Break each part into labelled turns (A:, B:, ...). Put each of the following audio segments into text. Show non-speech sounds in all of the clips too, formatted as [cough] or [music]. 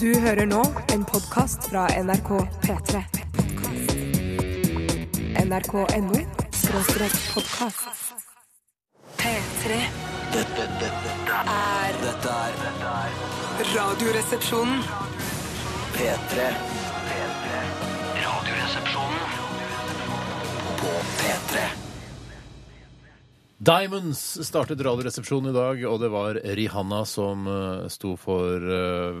A: Du hører nå en podkast fra NRK P3. NRK.no skråstrek podkast. P3
B: Dette, dette,
A: er
B: dette er dette er
A: Radioresepsjonen.
B: P3. P3. Radioresepsjonen på P3.
C: Diamonds startet Radioresepsjonen i dag, og det var Rihanna som eh, sto for eh,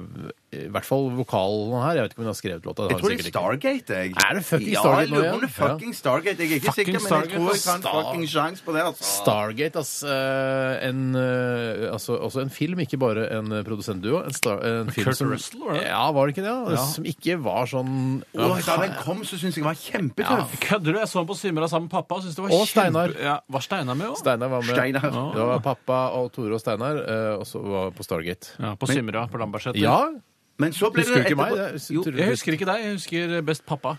C: i hvert fall vokalen her. Jeg vet ikke om hun har skrevet låta. det har
D: Jeg
C: hun
D: tror det er
C: sikkert ikke.
D: Stargate, jeg.
C: Er det fucking
D: ja,
C: Stargate
D: jeg
C: nå
D: lurer
C: igjen?
D: på om det er fucking Stargate. Jeg er ikke
C: Fucking
D: sikker, men jeg
C: Stargate
D: tror
C: og
D: jeg har en
C: Star-
D: fucking sjanse på det. altså.
C: Stargate, ass. eh, En, eh, altså, også en film, ikke bare en eh, produsentduo. En star, en film
E: Kurt
C: som,
E: Russell, var det?
C: Ja, var det ikke det? ja?
E: Ja.
C: Som ikke var sånn
D: Åh, da den kom, så syns jeg den var kjempetøff.
E: Kødder du? Jeg så den på Simra sammen med pappa. Og, syntes det var
C: Og Steinar.
E: kjempe- Ja, var Steinar med òg?
C: Steinar var med.
D: Steinar.
C: Det var pappa og Tore og Steinar, eh, og så var på Stargate.
E: Ja, på Simra på Lambertseter.
C: Ja,
D: Men så ble
C: Husker
D: det
C: du ikke meg? Det
D: etterpå-
C: er-
D: Jo,
E: Jeg husker ikke deg, jeg husker best pappa.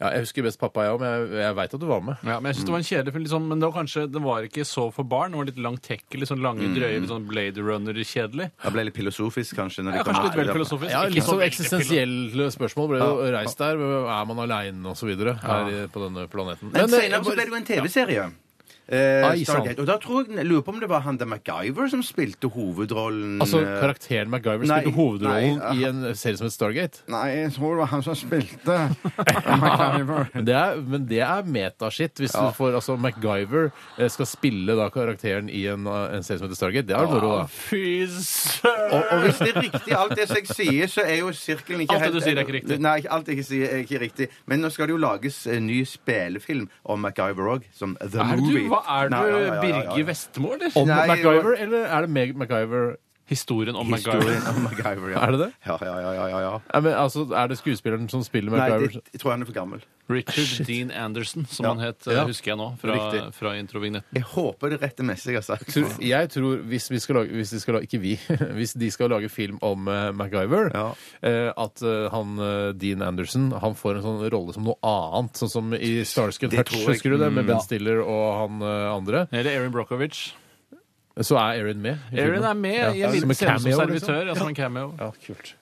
C: ja, jeg husker best pappa, jeg òg, men jeg, jeg veit at du var med.
E: Ja, men jeg synes det var en kjedelig film, liksom, men det var kanskje, den var ikke så for barn. Det var litt langtekkelig, sånn lange,
C: Mm.
E: drøye, litt sånn Blade Runner-kjedelig.
D: Jeg ble litt filosofisk, kanskje. Når det
E: Ja,
D: kom
E: kanskje litt
D: til
E: vel
D: det.
E: filosofisk.
C: Ja,
E: ikke
C: litt
E: så
C: sånn
E: veldig
C: eksistensielle spørsmål ble jo reist der. Er man aleine og så videre her i- på denne planeten?
D: Men
C: eh,
D: senere så ble det jo en TV-serie. Eh,
C: Ai, sant.
D: Stargate. Og da tror jeg, jeg lurer på om det var han der MacGyver som spilte hovedrollen.
C: Altså,
D: eh,
C: Karakteren MacGyver
D: Nei,
C: spilte hovedrollen
D: nei,
C: i en serie som het Stargate.
D: Nei, jeg tror det var han som spilte MacGyver.
C: Men det er, men det er metaskitt. Hvis du får altså, MacGyver eh, skal spille da karakteren i en, eh, en serie som heter Stargate, det er moro, da.
E: Fy søren!
D: Og, og hvis det er riktig alt det som jeg sier, så er jo sirkelen ikke
E: Alt det du sier er ikke riktig.
D: Nei, alt jeg sier er ikke riktig. Men nå skal det jo lages en ny spelefilm om MacGyver òg, som The
E: Er du,
D: Movie.
E: hva er du,
D: Nei, ja, ja, ja, ja, ja.
E: Birger Vestmo, eller?
C: Om
D: Nei,
C: MacGyver, eller er det Meg MacGyver?
E: Historien om MacGyver.
D: Historien om MacGyver, ja.
C: Er det det?
D: Ja, ja, ja. ja, ja, ja.
C: Nei, men, altså, er det skuespilleren som spiller
D: Nei,
C: MacGyver?
D: det, jeg tror han er for gammel.
E: Richard Dean Anderson, som
D: Ja.
E: han het, eh,
C: Ja.
E: husker jeg nå, fra,
D: Riktig.
E: fra introvignetten.
D: Jeg håper det er rett meste jeg har sagt.
C: Tror- Jeg tror hvis vi skal lage, hvis de skal lage Ikke vi. [laughs] Hvis de skal lage film om eh, MacGyver,
D: Ja.
C: eh, at eh, han eh, Dean Anderson Han får en sånn rolle som noe annet. Sånn som i Starsky
D: Det
C: Touch,
D: tror jeg.
C: husker du det? Med Ben Stiller og han eh, andre.
E: Eller Erin Brockovich.
C: Så er Erin med. i
E: Erin
C: filmen.
E: er med i
C: Ja,
E: en
C: som
E: liten
C: en
E: scene som
C: cameo, liksom.
E: servitør. Ja, som en cameo.
C: Ja, kult.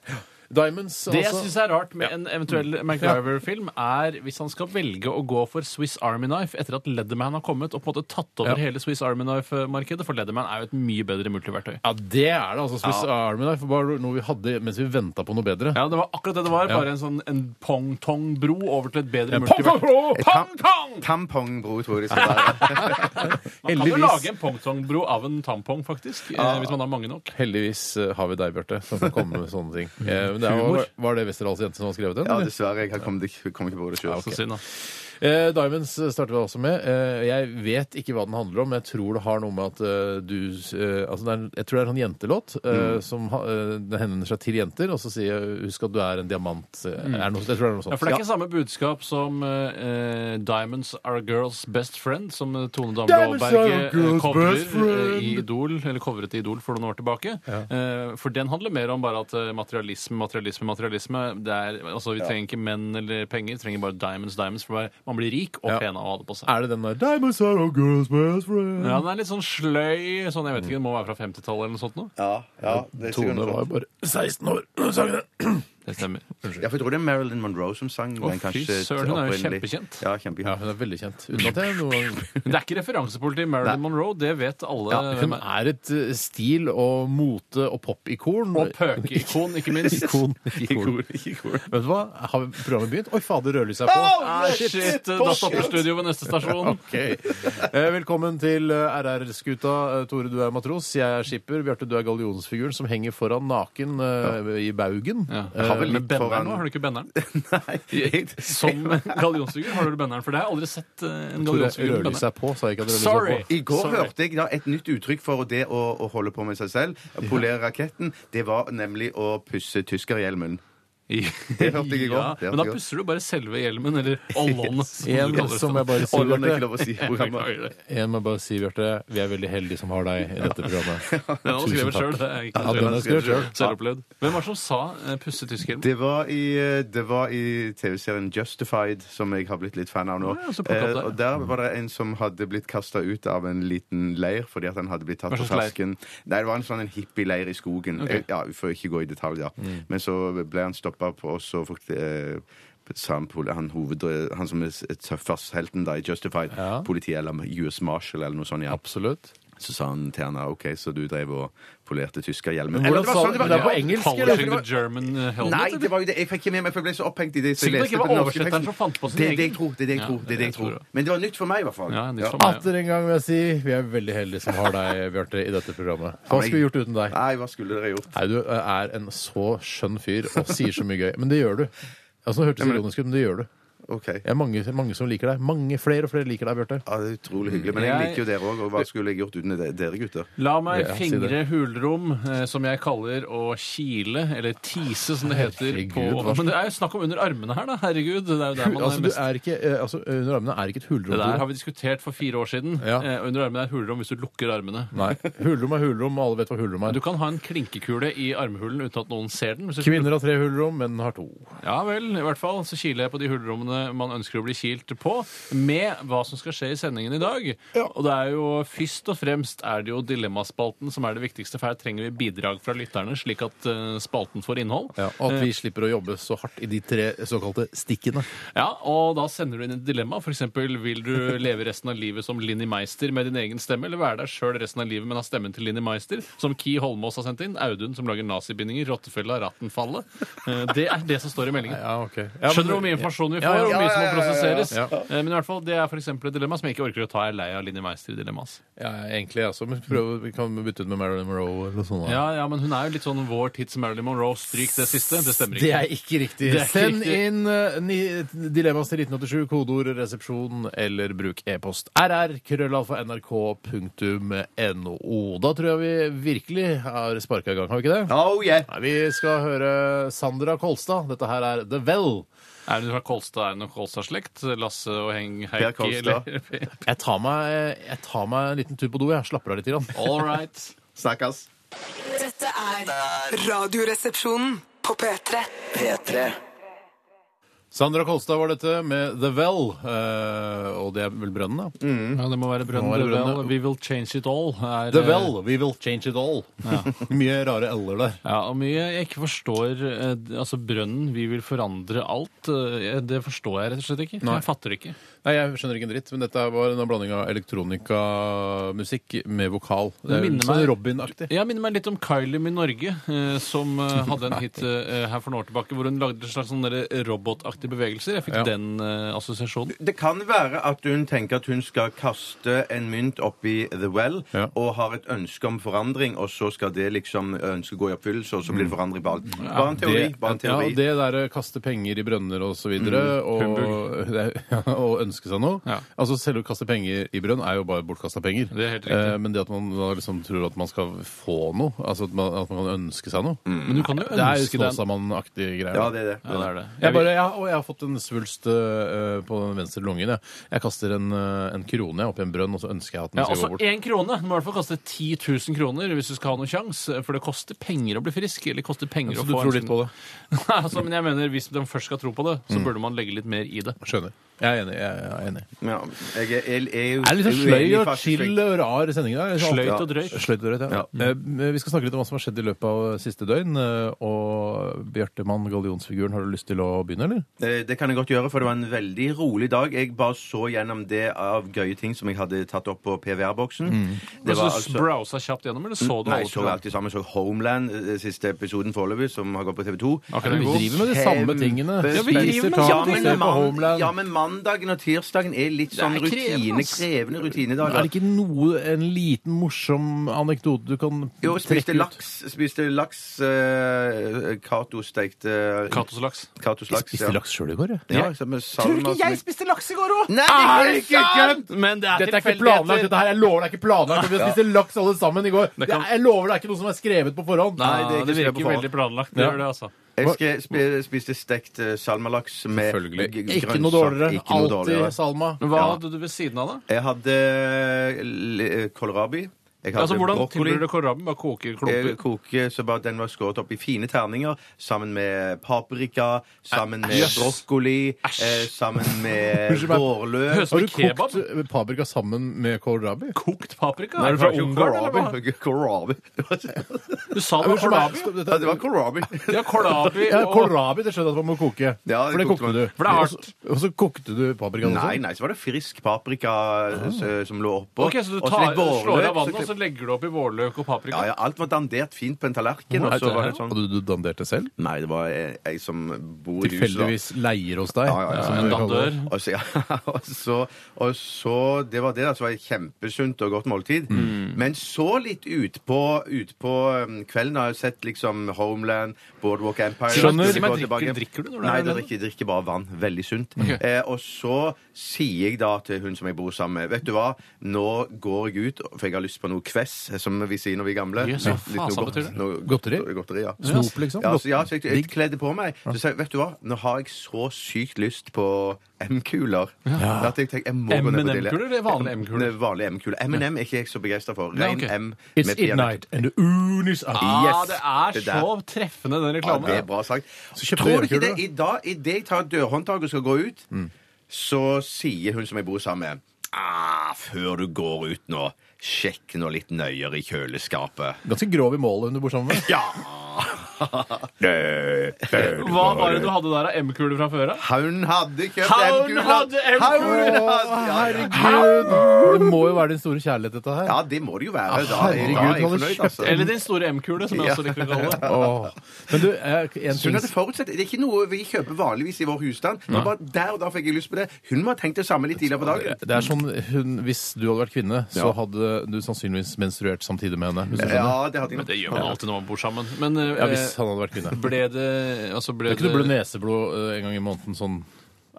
C: Diamonds,
E: Det jeg
C: altså.
E: syns er rart med en eventuell MacGyver-film, er hvis han skal velge å gå for Swiss Army Knife etter at Leatherman har kommet og på en måte tatt
C: Ja.
E: over hele Swiss Army Knife-markedet, for Leatherman er jo et mye bedre multiverktøy.
C: ja, det er det. altså Swiss Army Knife var noe vi hadde mens vi venta på noe bedre.
E: Ja, det var akkurat det det var.
C: Ja.
E: Bare en sånn en pong-tong-bro over til et bedre
C: Pong, pong,
E: multiverktøy.
C: pong!
E: Pong-tong!
D: Tampongbro, tror jeg det skal være.
E: Man kan jo
C: Heldigvis.
E: lage en pong-tong-bro av en tampong, faktisk. eh, Hvis man har mange nok.
C: Heldigvis eh, har vi deg, Bjarte, som kan komme med sånne
E: [laughs]
C: ting. Eh, men det er,
E: Humor.
C: var, var det Westerdals jente som har skrevet den?
D: Ja,
C: eller?
D: dessverre. Jeg har kommet ikke, kom ikke på det sjøl.
E: Så synd, da.
C: Eh, Diamonds starter vi også med. Eh, jeg vet ikke hva den handler om, men jeg tror det har noe med at eh, du eh, altså det er, en- Jeg tror det er en sånn jentelåt eh, som ha- eh, den henvender seg til jenter, og så sier jeg 'husk at du er en diamant'. eh, Er det noe, jeg tror det er noe
E: Ja,
C: sånt.
E: for det er ikke samme budskap som eh, eh, 'Diamonds are girls best friend', som eh, Tone Damli
C: Diamonds are
E: Aaberge eh,
C: girls'
E: covrer
C: best friend.
E: eh, i Idol, eller covret i Idol for noen år tilbake. Eh, for den handler mer om bare at eh, materialisme, materialisme, materialisme det er, altså Vi trenger ikke menn eller penger, vi trenger bare diamonds, diamonds, for bare- man blir rik og
C: Ja.
E: pen av å ha det på seg.
C: Er det den der 'Diamonds are our girls best friend'?
E: Ja, Den er litt sånn sløy, sånn, jeg vet ikke, den må være fra 50-tallet eller noe sånt. Nå.
D: Ja, ja, det er
C: Tone
D: sikkert noe
C: var
D: sånt.
C: bare 16 år da sang den.
E: Det
C: [laughs]
E: stemmer.
D: ja, for jeg tror det er Marilyn Monroe som sang
E: Å,
D: den.
E: fy
D: kanskje
E: søren, hun er jo
D: opprinnelig.
E: kjempekjent.
D: Ja, kjempekjent.
C: Ja, hun er veldig kjent. Uten at jeg noen gang
E: Men det er ikke referansepoliti Marilyn Monroe, det vet
C: [laughs]
E: alle.
C: ja, Hun
E: hvem er.
C: er et eh, stil- og mote- og popikon.
E: Og pøkeikon, ikke
C: [laughs]
E: minst.
C: Ikon. Ikon.
D: Ikke cool.
C: Vet du hva? Har vi programmet begynt? Oi, fader, rødlyset er på!
E: Ah, shit! Da stopper studio ved neste stasjon.
C: Ok. Eh, Velkommen til eh, RR-skuta. Eh, Tore, du er matros. Jeg er skipper. Bjarte, du er gallionsfiguren som henger foran naken eh, i baugen.
E: Ja.
C: Eh,
D: Har vel litt
E: Med benneren
D: foran-
E: nå, har du
C: [laughs]
E: ikke benneren?
D: [laughs] Nei, jeg-
E: Som gallionsfigur har du benneren, for det har jeg aldri sett eh, en
C: Tore,
E: gallionsfigur med
C: rødlyset
E: [laughs] benneren.
C: er på, sa jeg ikke at rødlyset
E: Sorry!
C: er på.
D: I går
E: Sorry.
D: hørte jeg da et nytt uttrykk for det å, å holde på med seg selv. Polere raketten. Det var nemlig å pusse tyskerhjelmen. Det hørte jeg i går.
E: Ja,
D: Det hørte
E: men
D: jeg
E: da
D: i går.
E: pusser du bare selve hjelmen, eller ollånet,
C: En
E: som du kaller det. sånn.
C: som jeg bare sier,
D: Å, nå er det
C: Bjarte.
D: ikke lov å si i
E: [laughs] Jeg
D: programmet.
E: beklager det.
C: Jeg må bare si, Bjarte, vi er veldig heldige som har deg i dette
E: [laughs]
C: programmet.
E: Den har han skrevet
C: Tusen
E: sjøl.
C: takk. Ja, den har jeg skrevet selv.
E: Selvopplevd. Hvem var det som sa eh, 'pusse tysken'?
D: Det var i, eh, det var i TV-serien Justified, som jeg har blitt litt fan av nå.
E: Ja, så plukket opp
D: Eh,
E: der.
D: og der var det en som hadde blitt kasta ut av en liten leir fordi at han hadde blitt tatt
E: Hva
D: på
E: slags leir?
D: fersken. Nei, det var en sånn en hippieleir i skogen. Eh, Ja, Vi får ikke gå i detalj, da.
C: Mm.
D: Men så ble han stoppa på oss og fikk eh, sa han, poli- han, hoved, han som er s- tøffest helten da, i Justified,
C: Ja.
D: politiet eller US Marshal eller noe sånt. Ja.
C: Absolutt.
D: Så sa han til henne OK, så du drev og polerte tyskerhjelmen.
C: Hvordan
D: Eller det var
C: sa
D: sånn det var-
C: du det?
D: det var-
C: på engelsk, eller?
E: Polishing the German eh, helmet?
D: Nei,
E: eller?
D: det var jo det. jeg fikk ikke med meg, for jeg ble så opphengt i det. så jeg
E: Sikkert det
D: leste på
E: ikke var
D: den norske
E: oversetteren
D: teksten.
E: som fant på sin
D: Det er det jeg
E: egen.
D: tror. Det er det jeg
E: Ja,
D: tror. Det er det jeg tror. Men det var nytt for meg, i hvert fall.
E: Ja, nytt for meg.
C: Atter en gang vil jeg si, vi er veldig heldige som har deg, Bjarte, i dette programmet. Hva skulle vi gjort uten deg?
D: Nei, hva skulle dere gjort?
C: Nei, du eh, er en så skjønn fyr og sier så mye gøy. Men det gjør du. Altså, det hørtes ironisk ut, men det gjør du.
D: OK.
C: Det er mange, mange som liker deg. Mange, flere og flere liker deg, Bjarte.
D: Ja, det er utrolig hyggelig. Men jeg
E: Jeg-
D: liker jo dere òg. Og hva skulle jeg gjort uten de- dere, gutter?
E: La meg
C: Ja, si det.
E: fingre hulrom, eh, som jeg kaller å kile, eller tise, som det heter.
C: Herregud,
E: på,
C: hva-
E: Men det er jo snakk om under armene her, da. Herregud. Det er jo der man
C: Altså,
E: er
C: du
E: mest
C: er ikke, eh, altså, under armene er ikke et hulrom.
E: Det der har
C: Tore.
E: vi diskutert for fire år siden.
C: Ja.
E: Eh, under armene er et hulrom hvis du lukker armene.
C: Nei. Hulrom er hulrom, og alle vet hva hulrom
E: Du
C: er.
E: kan ha en klinkekule i armhulen uten at noen ser den. Hvis du
C: Kvinner har tre hulrom, menn har to.
E: Ja vel, i hvert fall så kiler jeg på de hulrommene man ønsker å bli kilt på, med hva som skal skje i sendingen i dag. Og det er jo først og fremst er det jo dilemmaspalten som er det viktigste, for her trenger vi bidrag fra lytterne, slik at eh, spalten får innhold.
C: Ja, og
E: Eh.
C: at vi slipper å jobbe så hardt i de tre såkalte stikkene.
E: Ja, og da sender du inn et dilemma. For eksempel, vil du leve resten av livet som Linni Meister med din egen stemme, eller være deg sjøl resten av livet, men ha stemmen til Linni Meister? Som Ki Holmås har sendt inn. Audun som lager nazibindinger. Rottefella, Rattenfallet. Eh, Det er det som står i meldingen.
C: Ja, ok.
E: Skjønner du hvor mye informasjon vi
C: Ja,
E: får,
C: ja,
E: og hvor mye som
D: ja,
E: må
D: ja, ja, ja.
E: prosesseres? Eh, Men i hvert fall, det er for eksempel et dilemma som jeg ikke orker å ta. Jeg er lei av Linni Meister i dilemmas.
C: Ja, egentlig, altså. Men prøv, vi kan bytte ut med Marilyn Monroe eller noe sånt. da.
E: Ja, ja, men hun er jo litt sånn vår tids Marilyn Monroe. Stryk det siste. Det stemmer
C: Det
E: ikke.
C: er ikke riktig.
E: Det er ikke
C: Send
E: riktig.
C: inn eh, ni, dilemmas til 1987, kodeord resepsjon, eller bruk e-post rr.krøllalfa.nrk.no. Da tror jeg vi virkelig har sparka i gang, har vi ikke det?
D: Oh yeah!
C: Nei, vi skal høre Sandra Kolstad. Dette her er The Well.
E: Er hun fra Kolstad? Er hun av Kolstad-slekt? Lasse og Heng
D: Per
E: Heikki?
D: Kolstad.
E: [laughs] eller-
C: Jeg tar meg, jeg tar meg en liten tur på do. Jeg slapper av litt. Grann.
E: All right.
D: Snakkes.
A: Dette er Radioresepsjonen på P3.
B: P3.
C: [laughs] Sandra Kolstad var dette med The Well. eh, og det er vel brønnen, da?
E: Ja, det må være
C: Det må være Brønn, ja.
E: Brønnen. We will change it all. er-
C: The Well, we will change it all. [laughs] Mye rare l-er der.
E: eh, Ja, og mye jeg ikke forstår eh, d- Altså, Brønnen, vi vil forandre alt. eh, Det forstår jeg rett og slett ikke. Jeg fatter det ikke.
C: Nei, jeg skjønner ikke en dritt, men dette var en blanding av elektronikamusikk med vokal. Det er
E: minner
C: sånn
E: meg-
C: Robin-aktig.
E: Jeg minner meg litt om Kylie med Norge, eh,
C: [laughs]
E: som eh, hadde en hit eh, her for noen år tilbake hvor hun lagde en slags sånn derre robotaktige bevegelser. Jeg fikk
C: Ja.
E: den eh, assosiasjonen.
D: Det kan være at hun tenker at hun skal kaste en mynt oppi The Well
C: Ja.
D: og har et ønske om forandring, og så skal det liksom ønsket gå i oppfyllelse, og så blir det forandring på alt. Bare en teori. Bare en
C: ja,
D: teori.
C: det der eh, kaste penger i brønner og så videre, og, [laughs] det er- ja, og ønske seg noe.
E: Mm, Ja.
C: Altså Selve å kaste penger i brønn er jo bare bortkasta penger.
E: Det er helt riktig.
C: eh, men det at man da liksom tror at man skal få noe, altså at man, at man kan ønske seg noe,
E: Men du kan jo
C: det er jo
E: ønske deg en-
C: Snåsamann-aktig greier.
D: Mm. Ja, det er det.
E: Ja, det er det.
C: Jeg bare, jeg, og jeg har fått en svulst øh, på den venstre lungen. Jeg, jeg kaster en, øh, en krone oppi en brønn, og så ønsker jeg at den
E: Ja,
C: skal
E: også
C: gå bort.
E: én krone. Du må i hvert fall kaste 10 000 kroner hvis du skal ha noen sjanse. For det koster penger å bli frisk. Eller det koster penger
C: Så
E: å
C: Altså, du
E: få sånn-
C: tror litt på det?
E: Nei, altså, men jeg mener, hvis de først skal tro på det,
D: Mm.
E: så burde man legge litt mer i det.
C: Skjønner. Jeg er enig. jeg er enig.
D: Ja, jeg er, jeg er, jo
C: Er det litt sånn
D: uenig
C: sløy og
D: faktisk.
C: chill og rar sending i dag? Liksom
E: Sløyt
C: alt-
E: og drøyt.
C: Sløyt og drøyt, ja. Eh, Vi skal snakke litt om hva som har skjedd i løpet av siste døgn. eh, Og Bjartemann, gallionsfiguren, har du lyst til å begynne, eller?
D: Eh, Det kan jeg godt gjøre, for det var en veldig rolig dag. Jeg bare så gjennom det av gøye ting som jeg hadde tatt opp på
C: Mm.
D: PVR-boksen. Det
E: Altså,
D: var
E: du
D: altså...
E: browsa kjapt gjennom, eller så du
D: Nei,
E: alle
D: så alt
E: programmene?
D: det sammen. Så Homeland, eh, siste episoden foreløpig, som har gått på TV 2.
E: Ok, den er
C: Vi
E: god.
C: driver med de samme tingene.
D: Ja,
E: vi driver med
C: taco,
D: Eh, Ja,
E: samme
D: men,
C: ser på
D: man-
C: Homeland.
D: ja, men mandagen og tirsdagen er litt sånn
E: Det er krevende,
D: rutine,
E: ass.
D: krevende
C: Er
D: rutinedager.
C: det ikke noe, en liten morsom anekdote du kan
D: Jo, spiste
C: trekke ut?
D: laks, spiste laks eh, Cato stekte
E: Katos laks.
D: Catos
C: Jeg
D: laks.
C: spiste laks sjøl i går, jeg.
D: Ja, ja med salma som-
E: spiste laks i går òg?
D: Nei,
C: Ah,
D: det er ikke sant!
E: Men det er
C: Dette er ikke
E: tilfeldigheter.
C: planlagt. dette her, Jeg lover det er ikke planlagt. Vi har spist laks alle sammen i går.
E: Det kan-
C: Jeg lover det er ikke noe som er skrevet på forhånd.
E: Nei,
D: Nei, det er
E: det,
D: ikke skrevet på
E: virker
D: forhånd.
E: veldig planlagt. Det
C: Ja.
E: gjør det, altså.
D: Jeg skal spi- spiste stekt eh, salmalaks med
C: Selvfølgelig.
D: g-
C: Ikke
D: grønnsak.
C: noe dårligere.
D: Ikke noe
C: Alltid
D: dårligere.
C: Salma.
E: Men hva
D: Ja.
E: hadde du ved siden av, da?
D: Jeg hadde eh, l- kålrabi. Jeg hadde
E: Altså, Hvordan
D: brokkoli.
E: tilbyr du kålrabi? Bare koker
D: Jeg
E: klumper?
D: koker så bare den var skåret opp i fine terninger sammen med paprika, sammen med
E: Æsj.
D: brokkoli, eh, sammen med
C: Unnskyld meg.
D: vårløk
E: Høres
C: Har du
E: Med kebab?
C: kokt eh, paprika sammen med kålrabi?
E: Kokt paprika?
D: Nei,
E: Er du
D: det var
E: fra
D: ikke
E: Ungarn,
D: kålrabi.
E: eller hva?
D: Kålrabi. [laughs] Det var-
E: Du sa det var kålrabi?
C: Skal-
D: Ja,
C: dette-
D: det
C: [laughs]
D: var kålrabi.
E: Ja, kålrabi
C: Ja,
E: og
C: kålrabi det skjønner jeg at man må koke.
D: Ja, det
C: for det
D: kokte
C: kokte
D: man.
C: du.
E: For det er hardt.
C: Og så- Og så kokte du paprikaen også?
D: Nei, nei, så var det frisk paprika eh, som lå oppå.
E: Ah. Ok, Så du
D: Og
E: tar,
D: litt vårløk,
E: slår av vannet,
D: så-
E: og så legger du opp i vårløk og
D: Ja,
E: paprika?
D: ja, alt var dandert fint på en tallerken,
E: Altså,
D: og så var det sånn
C: Hadde du dandert det selv?
D: Nei, det var jeg, jeg som bor i huset. da.
C: Tilfeldigvis leier hos deg?
D: Ja, ja, ja.
C: som
E: En
C: vi kaller
E: dandør?
C: det.
D: Og så, [laughs] ja, og, så, og så Det var det. da, så var det Kjempesunt og godt måltid.
E: Mm.
D: Men så litt utpå ut på, um, kvelden har jeg sett liksom Homeland, Boardwalk Empire
E: Skjønner.
D: Hvis jeg
E: Men
D: går
E: drikker-
D: tilbake-
E: drikker du når du er
D: Nei,
E: der
D: da
E: nede?
D: drikker, jeg drikker bare vann. Veldig sunt. Eh, og så sier jeg da til hun som jeg bor sammen med Vet du hva, nå går jeg ut, for jeg har lyst på noe Kvess, eh, som vi sier når vi er gamle.
E: Jøss, hva
D: Litt noe
E: faen
D: godt-
E: betyr det?
D: noe
C: Godteri?
D: godteri ja.
C: Snop, liksom?
D: Ja, så, ja, så jeg, jeg kledde på meg. Så sa jeg, vet du hva, nå har jeg så sykt lyst på M-kuler. At jeg tenkte, jeg må gå
E: M&M
D: ned på Dille.
E: M&M-kuler eller vanlige M-kuler?
D: Nei, Vanlige M-kuler. M&M er ikke jeg så begeistra for.
E: Nei,
D: Rein
E: ok.
D: M
C: It's
D: med peanøtt.
C: midnight and the oon is up.
E: Ah,
D: Yes.
E: det er
D: Det der.
E: så treffende, den
D: Ja,
E: reklamen.
D: det er bra sagt.
C: kjøpte
D: Tror du ikke
C: M-kuler,
D: det? I dag, idet jeg tar dørhåndtaket og skal gå ut, så sier hun som jeg bor sammen med ah, Før du går ut nå, sjekk nå litt nøyere i kjøleskapet.
C: Ganske grov i målet hun du bor sammen med.
D: Ja!
E: Hva var det du hadde der av M-kuler fra før av?
D: Hun hadde kjøpt
E: Hun
D: M-kuler!
E: hadde M-kuler!
D: Hun hadde- ja, ja.
C: Herregud! Det må jo være din store kjærlighet, dette her.
D: Ja, det må det jo være. Da,
C: herregud,
D: da er jeg
C: hadde
D: fornøyd,
C: kjøpt
D: altså.
E: Eller din store M-kule, som jeg også liker å kalle det.
C: Åh. Men du, eh, en
D: Hun
C: ting
D: hadde forutsett, Det er ikke noe vi kjøper vanligvis i vår husstand. Men bare der og da fikk jeg lyst på det. Hun må ha tenkt det samme litt tidligere på dagen.
C: det er sånn, hun, Hvis du hadde vært kvinne, så
D: Ja.
C: hadde du sannsynligvis menstruert samtidig med henne. Hvis du skjønner.
D: Ja, det hadde jeg
E: Men det
D: nok.
E: gjør man alltid når man bor sammen. Men
C: ja,
E: eh,
C: hvis han hadde vært kvinne.
E: ble det altså ble
C: Kan ikke du blø
E: det,
C: neseblod eh, en gang i måneden sånn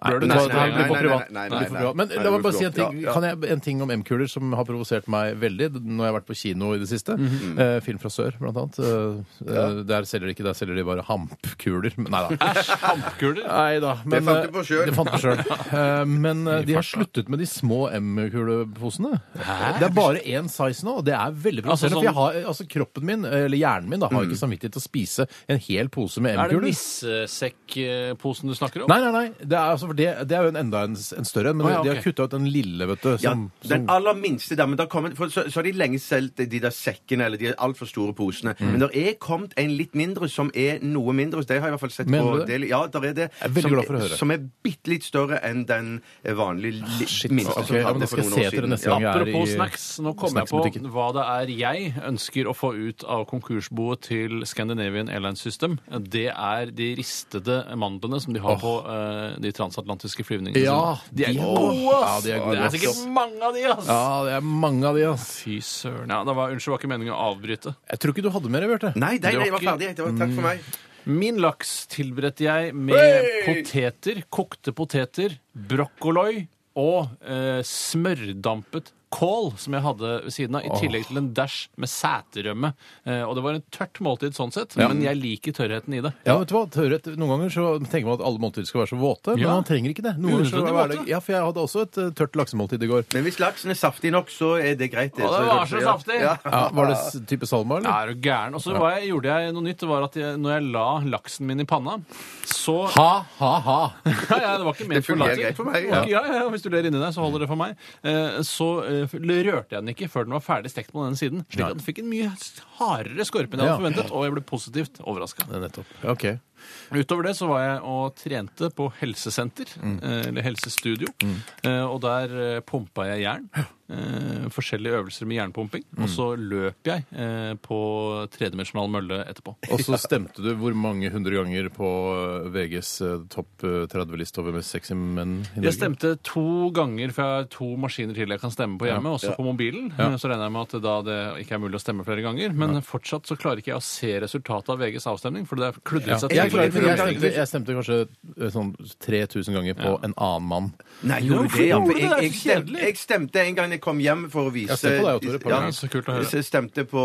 E: Blør du
C: Nei, det
E: neseblod?
C: her blir
E: Nei,
C: for
E: nei,
C: privat.
D: nei,
C: Det
D: nei,
C: blir for
D: nei,
C: privat. Men
D: nei,
C: la meg
D: det
C: bare
D: blir
C: si en
D: for
C: ting,
D: privat. Ja, ja.
C: kan jeg, en ting om M-kuler som har provosert meg veldig når jeg har vært på kino i det siste. Eh, film fra sør, blant annet. Eh, eh, Der selger de ikke, der selger de bare hampkuler. Men Nei da.
E: Æsj, hampkuler?
C: Nei da, men, eh,
D: Det fant du på selv.
C: det fant jeg selv.
D: [laughs]
C: Eh, Men eh, de har sluttet med de små M-kuleposene. Det er bare én size nå, og det er veldig
E: Altså, Mm.
C: provoserende. for jeg har, altså, kroppen min, eller hjernen min, da, har ikke samvittighet til å spise en hel pose med
E: Er det
C: M-kuler.
E: nissesekkposen du snakker om?
C: Nei, nei, nei. Det er, altså, for det, det er jo en enda en, en større en, men
E: Å, ja,
C: de har
E: ok.
C: kutta ut den lille, vet du.
D: Ja,
C: Som,
D: den
C: som,
D: aller minste der, men det har kommet, for så, så har de lenge solgt de der sekkene eller de altfor store posene.
C: Mm.
D: Men det er kommet en litt mindre som er noe mindre. Det har jeg i hvert fall sett
C: Mener
D: på
C: du det?
D: del- Ja, der er det.
C: Jeg er veldig
D: som,
C: glad for å høre. Ah,
D: Som er bitte litt større enn den vanlige li, minste
C: ok,
D: som
C: ja, men da
D: hadde
C: skal jeg se
D: for noen år
C: etter det
D: siden.
C: neste gang jeg er i
E: Apropos snacks, nå kom jeg på
C: snacksbutikken.
E: hva det er jeg ønsker å få ut av konkursboet til Scandinavian Airlines System. Det er de ristede mandlene som de har på eh, de transatlantiske flyvningene
C: Ja,
E: sine. De er
C: de-
E: gode,
C: Ja,
E: ass!
C: de er gode,
E: det
C: ass.
E: er sikkert mange av de, ass!
C: Ja, det er mange av de, ass.
E: Fy søren. Ja, det var, unnskyld, var ikke meningen å avbryte.
C: Jeg tror ikke du hadde mer, Bjarte.
D: Nei, nei, nei, jeg
E: var
D: var ferdig. Det var takk
C: Mm.
D: for meg.
E: Min laks tilberedte jeg med
D: Hey!
E: poteter, kokte poteter, brokkoloi og eh, smørdampet kål som jeg hadde ved siden av, i tillegg til en dash med sæterømme. Eh, og det var en tørt måltid sånn sett, men jeg liker tørrheten i det.
C: Ja, vet du hva? Tørrhet, noen ganger så tenker man at alle måltider skal være så våte, men
E: Ja.
C: man trenger ikke det. Noen ganger så
E: Unødvendig
C: er det,
E: våte.
C: ja, for jeg hadde også et eh, tørt laksemåltid i går.
D: Men hvis laksen er saftig nok, så er det greit.
E: Å, det var så
D: ja.
E: saftig!
D: Ja.
C: Ja, var
E: [laughs]
C: det s- type salma, eller?
E: Ja, er du gæren? Og så var jeg- gjorde jeg noe nytt. Det var at jeg, når jeg la laksen min i panna, så
C: Ha, ha, ha!
E: [laughs] Ja, ja, det var ikke ment
D: Det
E: for
D: fungerer
E: latter.
D: greit for meg,
E: Ja. Ja, ja, hvis du ler inni deg, så holder det for meg. Eh, Så eh, rørte jeg den ikke før den var ferdig stekt på den siden, slik at den fikk en mye hardere skorpe enn jeg
C: Ja.
E: hadde forventet, og jeg ble positivt overraska.
C: Ja, Nettopp. Ok.
E: Utover det så var jeg og trente på helsesenter, eh, eller helsestudio, eh, og der eh, pumpa jeg jern. eh, Forskjellige øvelser med jernpumping, og så løp jeg eh, på tredimensjonal mølle etterpå.
C: Og så stemte du hvor mange hundre ganger på eh, VGs eh, topp eh, 30-liste over med sexy menn i Norge?
E: Jeg stemte to ganger fra to maskiner til jeg kan stemme på hjemme, også på mobilen. Eh, Så regner jeg med at da det ikke er mulig å stemme flere ganger. Men fortsatt så klarer ikke jeg å se resultatet av VGs avstemning, for det er kludret
C: Ja.
E: seg
C: Jeg
D: klarer
C: Men jeg stemte, jeg stemte kanskje eh, sånn 3000 ganger på en annen mann.
D: Nei, gjorde du
E: hvorfor
D: det? Ja,
E: gjorde
D: men
E: du det?
D: jeg,
E: Det er
D: jeg,
E: så
D: stemte,
E: kjedelig.
D: jeg stemte en gang jeg kom hjem for å
C: Jeg
D: vise
C: har sett på deg, Tore, et par
D: Ja,
C: ganger.
E: Så kult å høre.
D: Jeg stemte på,